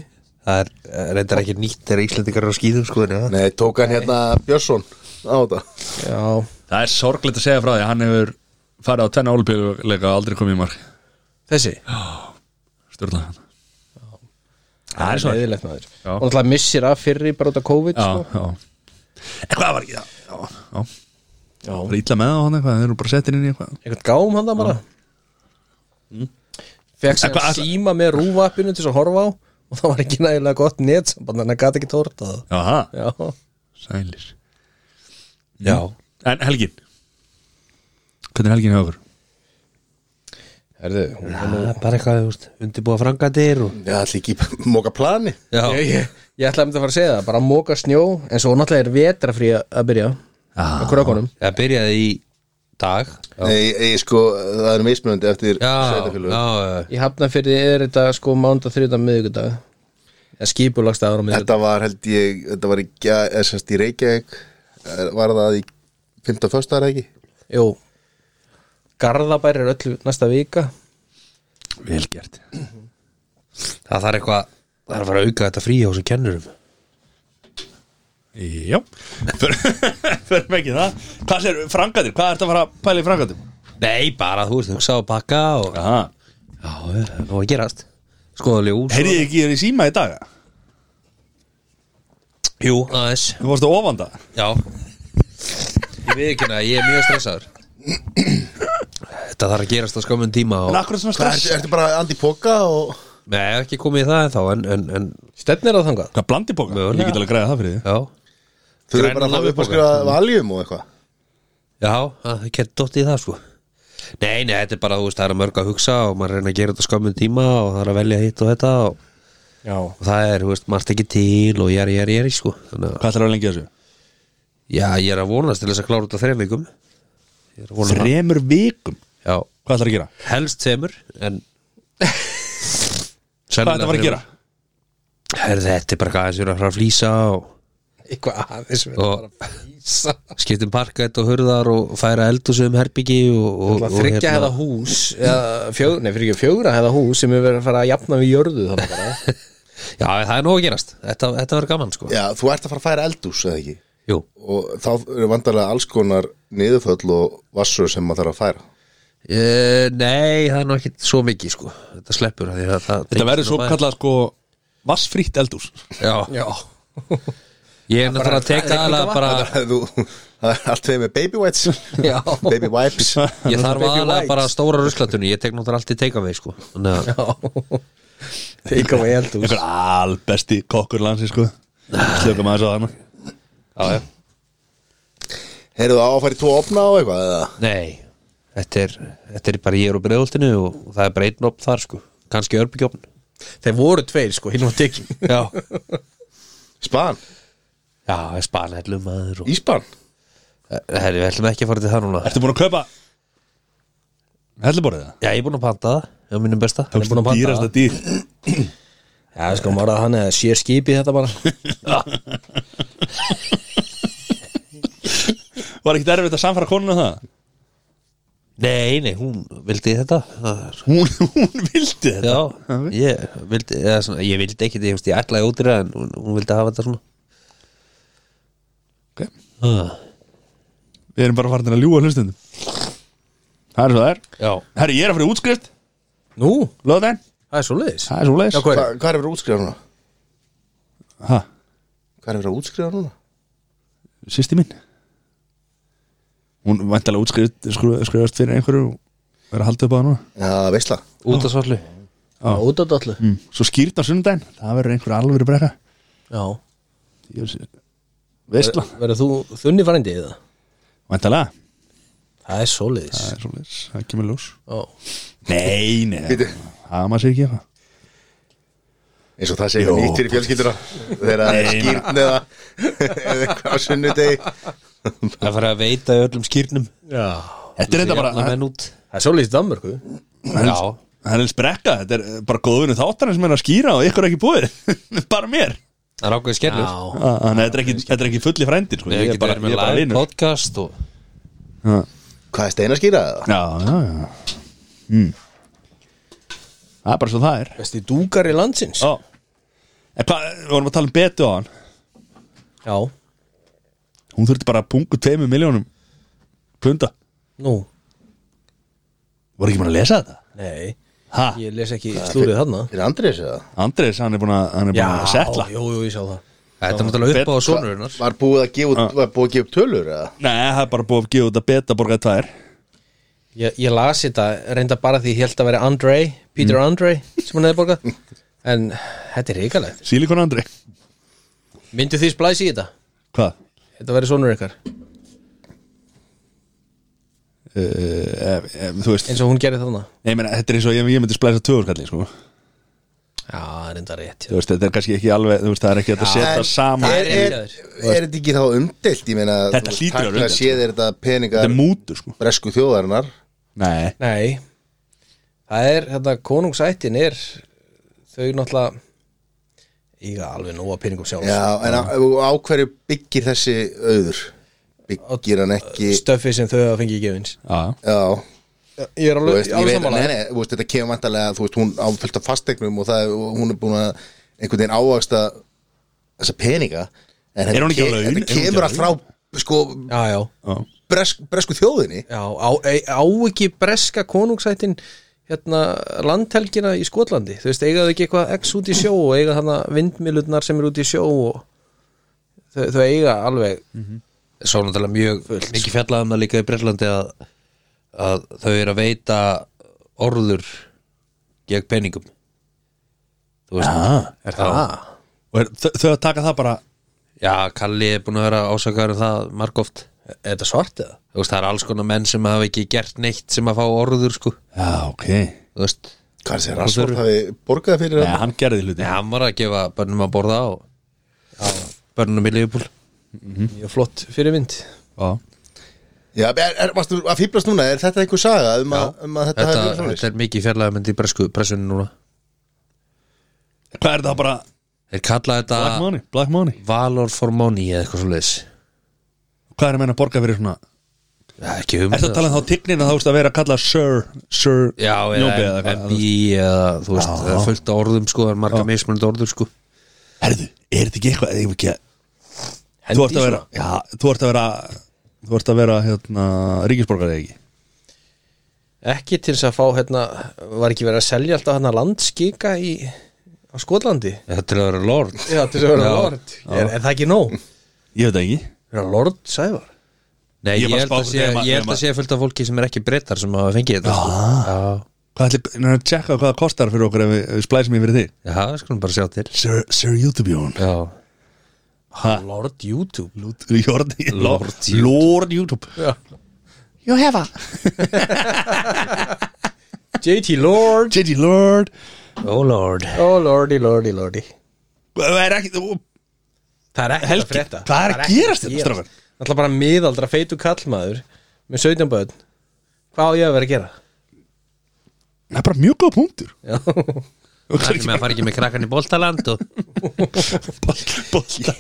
Speaker 3: það er eh, reyndar ekki nýtt þegar Íslendingar eru á skýðum sko þannig að-
Speaker 4: Nei, tók hann hérna Björnsson á þetta
Speaker 2: já,
Speaker 1: Það er sorglegt að segja frá því að hann hefur farið á tvenna ólbjörleika og aldrei komið í mark
Speaker 2: þessi
Speaker 1: Stjórnlega hann
Speaker 2: það er leðilegt maður
Speaker 1: Já.
Speaker 2: og hann missir af fyrri bara út af COVID
Speaker 1: Já,
Speaker 2: sko.
Speaker 1: já En hvað var ekki það? Já, já
Speaker 2: já.
Speaker 1: Bara ítla með á hann eitthvað, þeir eru bara settin inn í eitthvað
Speaker 2: eitthvað gám hann það bara Mm. fekk
Speaker 1: En hvað-
Speaker 2: sér síma með rúvappinu til þess að horfa á og það var ekki nægilega gott net þannig að hann gæti ekki tórta það
Speaker 1: Já, það,
Speaker 2: já,
Speaker 1: sælir Mm.
Speaker 3: Já,
Speaker 1: En helgin Hvernig er helgin hjá okkur?
Speaker 2: herðu hún var nú-
Speaker 3: það er bara eitthvað þú veist, undirbúa frangatir og
Speaker 4: Já, allir ekki móka plani
Speaker 3: Já,
Speaker 2: ég, ég, ég ætlaði að fara að segja það, bara að móka snjó en svo náttúrulega er vetrafrí að- að byrja
Speaker 1: Já.
Speaker 2: á krökkunum
Speaker 3: það byrjaði í dag
Speaker 4: Nei, ég, sko, það er mismunandi eftir
Speaker 3: Já,
Speaker 4: sveitarfélögum.
Speaker 3: já, já.
Speaker 2: í hafnafyrði er þetta sko mánda þriðdag miðvikudag eða skipulagsdagur á miðvikudag
Speaker 4: Þetta var held ég, þetta var í, gær- eða sem sagt í Reykjavík eh, var það í 15. föstar ekki?
Speaker 2: jú Garðabær er öllu næsta vika
Speaker 1: Vel gert
Speaker 3: það þarf eitthvað það þarf að fara að auka þetta frí á sem kennurum
Speaker 1: Já Förum *laughs* ekki í það Hvað er frangatir? Hvað ertu að fara að pæla í frangatir?
Speaker 3: Nei, bara þú veist, hugsa og pakka og Já,
Speaker 1: Aha.
Speaker 3: já, það var að gerast Skoða ljós
Speaker 1: Heyrði ég ekki þér í síma í dag?
Speaker 3: Jú, aðeins
Speaker 1: Þú varstu ofanda
Speaker 3: Já Ég veit ekki hérna, ég er mjög stressaður Þetta þarf að gerast á skömmun tíma
Speaker 1: En
Speaker 3: og...
Speaker 1: akkur er svona
Speaker 4: Hvað,
Speaker 1: stress
Speaker 4: ertu, ertu bara andi póka og
Speaker 3: Nei, ég hef ekki komið í það ennþá En, en, en
Speaker 2: stefnir á þangað
Speaker 1: Hvað, blandi bóka?
Speaker 3: Mögulega.
Speaker 1: Ég get alveg að græða það fyrir því
Speaker 3: já
Speaker 4: þau eru bara að fara upp að skrifa valjum og eitthvað
Speaker 3: Já, það er kert dótt í það sko Nei, nei, þetta er bara, þú veist, það er mörg að hugsa og maður reyna að gera þetta á skömmun tíma og það er að velja hitt og þetta og,
Speaker 2: já,
Speaker 3: og það er, þú veist, margt ekki til og jari, jari, jari, sko Þannig að,
Speaker 1: Hvað ætlar að lengi þessu?
Speaker 3: já, ég er að vonast til þess að klára út á þreim vikum Ég er að vona það.
Speaker 1: Þremur vikum
Speaker 3: Já,
Speaker 1: Hvað ætlar að gera?
Speaker 3: helst tveimur, en
Speaker 1: *laughs* Hvað ætlar að fara að gera?
Speaker 3: Herðu, þetta er bara hvað þessi eru að fara að flýsa og
Speaker 2: eitthvað aðeins verið
Speaker 3: Og-
Speaker 2: bara að
Speaker 3: *laughs*
Speaker 2: físa
Speaker 3: skiptum parkett og hurðar og færa eldhúsum herbyggi og, og, og hérna.
Speaker 2: þryggja hefða hús eða fjög, nei, fyrir ekki fjögra hefða hús sem er verið að fara að jafna við jörðu þannig bara
Speaker 3: já það er nóg að gerast þetta, þetta verður gaman sko
Speaker 4: Já, þú ert að fara að færa eldús eða ekki
Speaker 3: Jú,
Speaker 4: og þá eru vandarlega alls konar niðurföll og vassur sem maður þarf að *laughs* færa
Speaker 3: e, nei það er nú ekki svo mikið sko þetta sleppur af því að það
Speaker 1: Þetta verður svo kallað sko Vassfrítt eldús
Speaker 3: já.
Speaker 2: *laughs* já,
Speaker 3: ég er náttúrulega að teka aðlega bara
Speaker 4: þú, Það er allt þegar með baby *laughs* wipes
Speaker 2: Já.
Speaker 4: Baby wipes
Speaker 3: ég þarf
Speaker 2: Baby
Speaker 3: aðlega
Speaker 2: wipes.
Speaker 3: bara stóra ruslatunni ég tek náttúrulega allt í teika mig sko Þannig að-
Speaker 2: já. take away eldús
Speaker 1: Einhver albesti kokkur landsi sko slökum aðeins á hana
Speaker 3: já, já.
Speaker 4: Heyrðu það á að fara í tvo opna á eitthvað eða?
Speaker 3: Nei, þetta er, þetta er bara ég er á breiðoltinu og það er bara einn opn þar sko kannski örbyggjófn
Speaker 2: Þeir voru tveir sko, hinn var tekin
Speaker 3: Já,
Speaker 4: Span?
Speaker 3: já, spanhellum maður og... Eh,
Speaker 4: Íspan?
Speaker 3: Herri, við ætlum ekki að fara til það núna
Speaker 1: Ertu búin að kaupa Helluborðið það?
Speaker 3: Já, ég er búin að panta það, ég er mínum besta Ég er búin að panta
Speaker 1: Dýrasta
Speaker 3: það
Speaker 1: dýr
Speaker 2: Já, sko, maður að hann eða sér skipið þetta bara
Speaker 1: Var ekkert erfitt að samfara konuna um það?
Speaker 3: Nei, nei, hún vildi þetta Það er-
Speaker 1: Hún, hún vildi þetta
Speaker 3: Já, ég vildi, eða, svona, ég vildi ekki ég, veist, ég ætlaði út í það en hún, hún vildi hafa þetta svona
Speaker 1: Ok.
Speaker 3: Ah,
Speaker 1: Við erum bara farin að ljúga hlustundum Það er svo það er
Speaker 3: Já,
Speaker 1: Herri, ég er að fyrir útskrift
Speaker 2: *laughs* Nú,
Speaker 1: Löðdæn
Speaker 2: það er svo leiðis
Speaker 1: Það er svo leiðis
Speaker 2: Já, hvað er
Speaker 4: Hva, hvað er verið að útskrifa núna?
Speaker 1: Hva?
Speaker 4: Hvað er verið að útskrifa núna?
Speaker 1: Sýsti mín Hún væntalega útskrift skru- skrifast fyrir einhverju og er að halda upp á það núna
Speaker 4: Já, veistla
Speaker 3: út af svollu
Speaker 2: það? Út af dollu
Speaker 1: mm. Svo skýrt á sunnudaginn Það verður einhver alvöru brekka
Speaker 2: Já
Speaker 1: Ég vil sé- Veistla
Speaker 2: Verður þú þunni frændi í það?
Speaker 1: Væntalega
Speaker 2: Það er svo leiðis
Speaker 1: Það er svo leiðis Það kemur ljós
Speaker 2: Já
Speaker 1: Nei, nei
Speaker 4: Bíddu.
Speaker 1: Það maður sér ekki eitthvað
Speaker 4: Eins og það segir
Speaker 1: Jó.
Speaker 4: nýttir í fjölskylduna Þegar það er skýrn eða *laughs* Eða eitthvað á sunnudegi
Speaker 3: Það fyrir að veita í öllum skýrnum
Speaker 1: Þetta er þetta bara
Speaker 2: Hérna
Speaker 3: Jafna menn út
Speaker 2: Það er svo leiðis í Danmörku
Speaker 1: Það er-
Speaker 3: Já.
Speaker 1: það er eins brekka Þetta er eh, bara góðvinu þáttarinn sem er að skýra og ykkur er ekki búið *laughs* Bara mér
Speaker 3: Það er ákveðið skellur
Speaker 2: Já
Speaker 1: Ah, Þannig að þetta er ekki, þetta er ekki fulli frændin sko.
Speaker 3: Við
Speaker 1: Ég er
Speaker 3: getum
Speaker 1: bara, ég
Speaker 3: verið með
Speaker 1: er bara
Speaker 3: live
Speaker 1: vinur
Speaker 3: podcast og
Speaker 1: Já,
Speaker 4: Hvað er stein að skýra það?
Speaker 1: já, já mm. Það er bara svo það er
Speaker 2: Besti dúkar í landsins
Speaker 1: Ó. En hvað, við vorum að tala um betu á hann
Speaker 2: Já
Speaker 1: Hún þurfti bara að pungu tveimur miljónum Punda
Speaker 2: Nú
Speaker 1: Voru ekki maður að lesa þetta?
Speaker 2: Nei
Speaker 1: Ha,
Speaker 2: Ég les ekki slúrið þarna
Speaker 4: Fyrir Andrés eða?
Speaker 1: Andrés, hann er búin að, hann er búin að setla
Speaker 2: jú, jú, ég sá það
Speaker 3: Þetta er náttúrulega upp á sonurinnar
Speaker 4: Var búið að gefa,
Speaker 1: Ah.
Speaker 4: út- var búið að gefa upp tölur eða?
Speaker 1: Nei, það er bara búið að gefa út að beta borgaði tvær
Speaker 2: Ég, ég las þetta reynda bara því ég held að vera Andre, Peter Andre sem hann hefði borgað en þetta er ríkalegt
Speaker 1: Silikon Andri
Speaker 2: Myndu því splæsi í þetta?
Speaker 1: Hvað?
Speaker 2: Þetta verið sonur ykkar
Speaker 1: Uh, ef, ef, eh, þú veist
Speaker 2: eins og hún gerði þarna
Speaker 1: Nei, meina, þetta er eins og ég, ég myndi splæsa töðurkalli sko.
Speaker 2: Já, það er reynda rétt
Speaker 1: Þú veist, þetta er kannski ekki alveg Þú veist, það er ekki hægt að setja saman
Speaker 4: er, er,
Speaker 2: rétt
Speaker 4: er, þetta ekki þá umdelt? Ég meina
Speaker 1: Þetta
Speaker 4: þú
Speaker 1: hlýtur að vera
Speaker 4: tæknilega
Speaker 1: umdeilt, sko.
Speaker 4: séð er þetta
Speaker 1: Þetta
Speaker 4: peningar
Speaker 1: er mútu, sko
Speaker 4: bresku þjóðarinnar
Speaker 1: Nei,
Speaker 2: Nei, það er hérna konungsættin er þau náttúrulega eiga alveg nóga peningum sjálf
Speaker 4: Já, en á,
Speaker 1: Ah.
Speaker 4: á hverju byggir þessi auður? Byggir hann ekki
Speaker 2: stöffi sem þau hafa fengið í gefins
Speaker 1: já,
Speaker 4: Já,
Speaker 2: Ég er
Speaker 4: þú
Speaker 2: alveg,
Speaker 4: veist,
Speaker 2: alveg
Speaker 4: ég veit, nei,
Speaker 2: sammála
Speaker 4: nei, þú veist, þetta kemur vantarlega, þú veist, hún á fullt af fastegnum og það, er- og hún er búin að einhvern veginn ávægsta þessa peninga en
Speaker 1: Er hún ekki á
Speaker 4: ke-
Speaker 1: laun? Er hún
Speaker 4: þetta
Speaker 1: ekki á
Speaker 4: kemur allt frá, sko,
Speaker 2: Já, já,
Speaker 1: já
Speaker 4: bresk, bresku þjóðinni
Speaker 2: já á, ei- á ekki breska konungsættin hérna landhelgina í Skotlandi þú veist, eiga þau ekki eitthvað x út í sjó og eiga þarna vindmilutnar sem eru út í sjó og þau, þau eiga alveg
Speaker 3: Svo náttúrulega mjög mikið fjallað um það líka í Breslandi að, að þau eru að veita orður gegn peningum Þú veist
Speaker 1: Ah.
Speaker 3: Er það?
Speaker 1: Og er, þau, þau að taka það bara
Speaker 3: Já, Kalli er búin að vera ásakaður um það margóft
Speaker 2: Er þetta svart eða?
Speaker 3: Þú veist, það er alls konar menn sem hafa ekki gert neitt sem að fá orður, sko
Speaker 1: Já, ok
Speaker 3: Þú veist,
Speaker 4: Hvað er þessi rasvort hafi borgað fyrir
Speaker 1: Nei,
Speaker 4: þetta?
Speaker 1: hann gerði hluti
Speaker 3: Nei, hann var að gefa börnum að borða og börnum í Leifbúl
Speaker 2: Mjög flott fyrirmynd
Speaker 1: Já,
Speaker 4: Já, er, er, varstu að fýblast núna, er þetta einhver saga um, að, um að þetta
Speaker 3: þetta,
Speaker 4: hafi verið
Speaker 3: þetta
Speaker 4: svona?
Speaker 3: er mikið fjarlæða myndi í bresku pressunni núna
Speaker 1: Hvað er það bara?
Speaker 3: Þeir kalla
Speaker 1: Black
Speaker 3: þetta
Speaker 1: money, black money
Speaker 3: Valor for Money eða eitthvað svo leiðis
Speaker 1: Hvað er að menna að borga fyrir svona?
Speaker 3: Ekki um
Speaker 1: Er það að tala um þá tignina þá veist að vera að kalla Sir, Sir
Speaker 3: Já,
Speaker 1: Njóbið
Speaker 3: eða
Speaker 1: eða eitthvað
Speaker 3: MBI eða þú veist, það er fullt af orðum sko, það er marga mismunandi orður sko
Speaker 1: Herðu, er þetta ekki eitthvað eigum við ekki að-
Speaker 2: Hendi
Speaker 1: Þú ert að vera,
Speaker 2: svona.
Speaker 1: já, þú ert að vera Þú ert að vera, hérna, ríkisborgar eða ekki
Speaker 2: Ekki til þess að fá hérna Var ekki verið að selja alltaf hérna landskika í á Skotlandi
Speaker 3: Þetta er að vera lord
Speaker 2: Já, til þess að vera lord er, er það ekki nóg?
Speaker 1: Ég veit það ekki
Speaker 2: Vera lord sævar
Speaker 3: Nei,
Speaker 1: Ég
Speaker 3: ég,
Speaker 1: bara
Speaker 3: held að
Speaker 1: spá-
Speaker 3: sé,
Speaker 1: nema-
Speaker 3: ég held
Speaker 1: nema-
Speaker 3: að sé fullt af fólki sem er ekki breytar sem hafa fengið þetta sko.
Speaker 1: Hvað ætli, neina, tjekka hvað það kostar fyrir okkur ef við, ef við splæsum yfir þig
Speaker 3: Já, já, skulum bara sjá til
Speaker 1: Sir, Sir YouTube Jón
Speaker 3: Já,
Speaker 1: Ha.
Speaker 2: Lord YouTube
Speaker 1: Lord, Lord,
Speaker 3: Lord
Speaker 1: Lord, Lord YouTube
Speaker 2: Já.
Speaker 5: You have
Speaker 2: *laughs*
Speaker 5: a
Speaker 2: JT Lord
Speaker 1: JD Lord
Speaker 3: Oh lord
Speaker 2: Oh lordy, lordy, lordy
Speaker 1: Það er ekki, ó,
Speaker 2: Það er ekki Helgi. að frétta
Speaker 1: hvað er að gerast þetta strafan?
Speaker 2: Það er bara miðaldra feitu kallmaður með 17 börn Hvað á ég að vera að gera?
Speaker 1: Það er bara mjög góð punktur
Speaker 2: Já,
Speaker 3: Allir með að fara ekki með krakkan í boltaland og *laughs*
Speaker 1: Bolta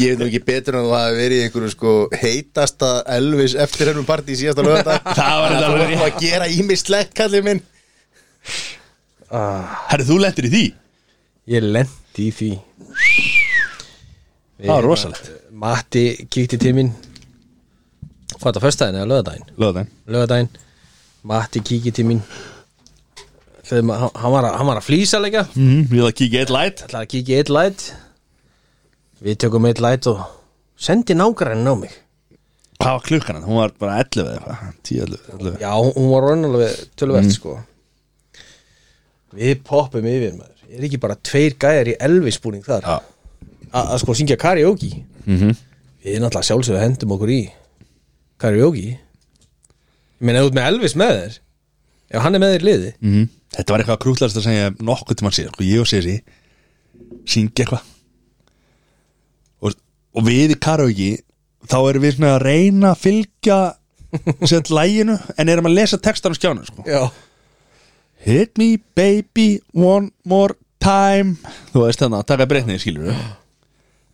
Speaker 4: Ég veit nú ekki betur en þú hafi verið í einhverju sko heitasta Elvis eftir hennum partí síðasta lögða
Speaker 1: Það var þetta
Speaker 4: *laughs* Það
Speaker 1: alveg
Speaker 4: var að gera ímislegt kallið minn
Speaker 1: Herri, þú lendir í því
Speaker 2: ég lendi í því
Speaker 1: Það var rosalegt
Speaker 2: Matti kíkti til mín Hvað það, föstudaginn eða lögadaginn?
Speaker 1: Löðan
Speaker 2: Lögadaginn Matti kíkti til mín Þegar maður, hann var að, hann var að flýsa leika
Speaker 1: mm, Við það kíkja eitt light
Speaker 2: ætlaði að kíkja í eitt læt Við tökum eitt læt og sendi nágrannin á mig
Speaker 1: Hvað var klukkan hann? Hún var bara 11 eða eitthvað 10, 11, 11
Speaker 2: Já, hún var raunalega tölvert sko Við poppum yfir maður Er ekki bara tveir gæjar í Elvis búning þar
Speaker 1: Já.
Speaker 2: A- Að sko syngja karaoke
Speaker 1: Mhm.
Speaker 2: Við náttúrulega sjálfsögðu hendum okkur í Karaoke Ég meina, ef þú ert með Elvis með þér Ef hann er með þér í liði
Speaker 1: mm. Þetta var eitthvað krútlegast að segja nokkuð til mann sér sko, Ég og sér sér Syngja eitthvað og, og við í karaoke Þá erum við svona að reyna að *laughs* fylgja Sett læginu En erum að lesa textan á skjánu sko.
Speaker 2: Já
Speaker 1: Hit me baby one more time Þú veist þannig að taka breytnið skilur *gasps* við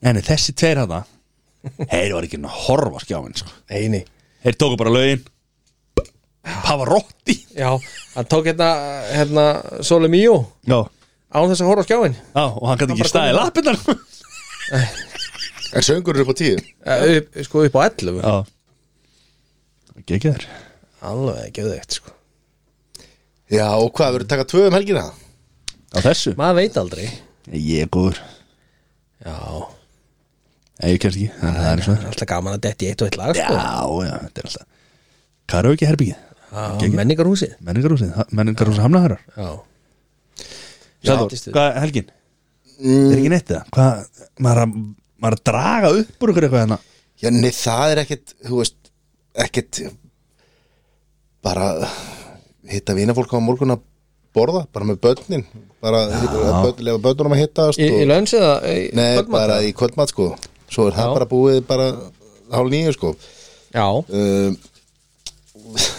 Speaker 1: En þessi tveir hana Þeir var ekki að horfa á skjáminn sko.
Speaker 2: Eini
Speaker 1: Þeir tóku bara lögin Pavarotti
Speaker 2: Já, hann tók hérna, hérna Sole Mio
Speaker 1: Já,
Speaker 2: án þess að horfa á skjáin
Speaker 1: Já og hann gæti ekki staðið lappinnar Já,
Speaker 4: En söngur eru upp á tíu
Speaker 2: Eh, upp, sko upp á 11
Speaker 1: ekki þér
Speaker 2: alveg geðveikt sko
Speaker 4: Já og hvað verður taka tvö um helgina?
Speaker 1: Á þessu
Speaker 2: maður veit aldrei
Speaker 1: Ég er góður
Speaker 2: já,
Speaker 1: Nei, Ég kemst ekki Þannig að það er
Speaker 2: það
Speaker 1: svona
Speaker 2: er alltaf gaman að detti í eitt og eitt lag
Speaker 1: Já,
Speaker 2: sko
Speaker 1: já, þetta er alltaf Karaoke herbyggið
Speaker 2: já, menningarhúsið
Speaker 1: Menningarhúsið Menningarhúsið hamnaðarar
Speaker 2: já,
Speaker 1: Sæður,
Speaker 2: Já.
Speaker 1: hvað er helgin? Er ekki neitt það? Hvað, maður að, maður að draga upp úr ykkur eitthvað hérna
Speaker 4: Já nei það er ekkit, þú veist, ekkit bara hitta vinafólk á morgun að borða, bara með börnin bara hitta, börn, lefa börnunum að hittast
Speaker 2: í,
Speaker 4: og-
Speaker 2: í lönns eða í
Speaker 4: Nei,
Speaker 2: kvöldmat,
Speaker 4: bara
Speaker 2: eða?
Speaker 4: í kvöldmat sko Svo er það bara búið bara hálf nýju sko
Speaker 2: já,
Speaker 4: um,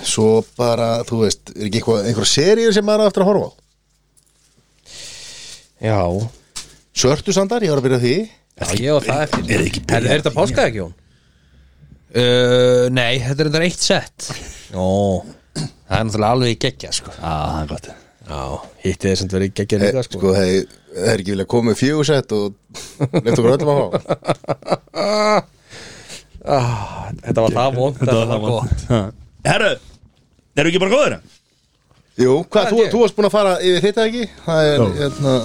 Speaker 4: Svo bara, þú veist, er ekki eitthvað, einhver seríur sem maður á eftir að horfa á
Speaker 2: já,
Speaker 4: Svörtusandar, ég var að byrja á því
Speaker 2: já ég og það eftir
Speaker 1: er ekki
Speaker 2: er, er þetta páska ekki hún?
Speaker 3: uh, Nei, þetta er þetta eitt sett
Speaker 2: já,
Speaker 3: Það er náttúrulega alveg í geggja sko
Speaker 1: Á, það er gott
Speaker 2: já, hitti þess að vera í geggjum
Speaker 4: Sko,
Speaker 2: líka sko
Speaker 4: sko hei, það er ekki vilja koma með fjögursett og lefði okkur öllum að fá
Speaker 2: ah, þetta var það vond,
Speaker 1: Þetta var það
Speaker 2: gott
Speaker 1: vant Herru, eru ekki bara góður?
Speaker 4: *laughs* Jú, hvað,
Speaker 2: Hvað
Speaker 4: þú,
Speaker 2: er ég?
Speaker 4: þú varst búin að fara yfir þetta ekki? Það er,
Speaker 1: Jó.
Speaker 4: hérna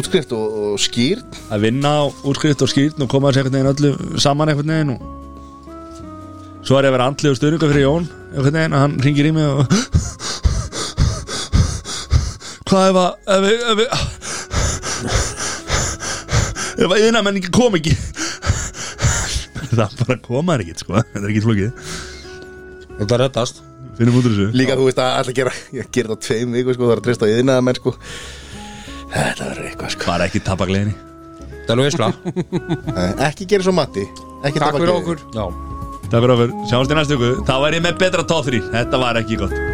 Speaker 4: útskrift og, og skýrt
Speaker 1: Að vinna á útskrift og skýrt og koma þessi einhvern veginn öllu saman einhvern veginn og svo er ég að vera andlið og stöðninga fyrir Jón einhvern veginn og hann ringir í mig og hvað ef að ef við ef, við, ef að yðna menn ekki kom ekki það bara koma er ekki sko þetta er ekki flókið
Speaker 3: Þetta er öttast
Speaker 1: finnum út úr þessu
Speaker 4: Líka, þú veist, að alltaf gera, ég gera það á tveim viku, sko, það er að treysta á yðina menn, sko Þetta verður eitthvað, sko
Speaker 1: bara ekki tapa gleðinni
Speaker 3: Þetta er alveg sko. veistla
Speaker 4: Nei, Ekki gera svo mati Ekki
Speaker 3: Takk
Speaker 4: tapa
Speaker 3: fyrir
Speaker 4: gleði.
Speaker 3: okkur Já
Speaker 1: Takk fyrir að fyrir, sjáumst í næstu ykkur Þá er ég með betra tóð þrý, þetta var ekki gott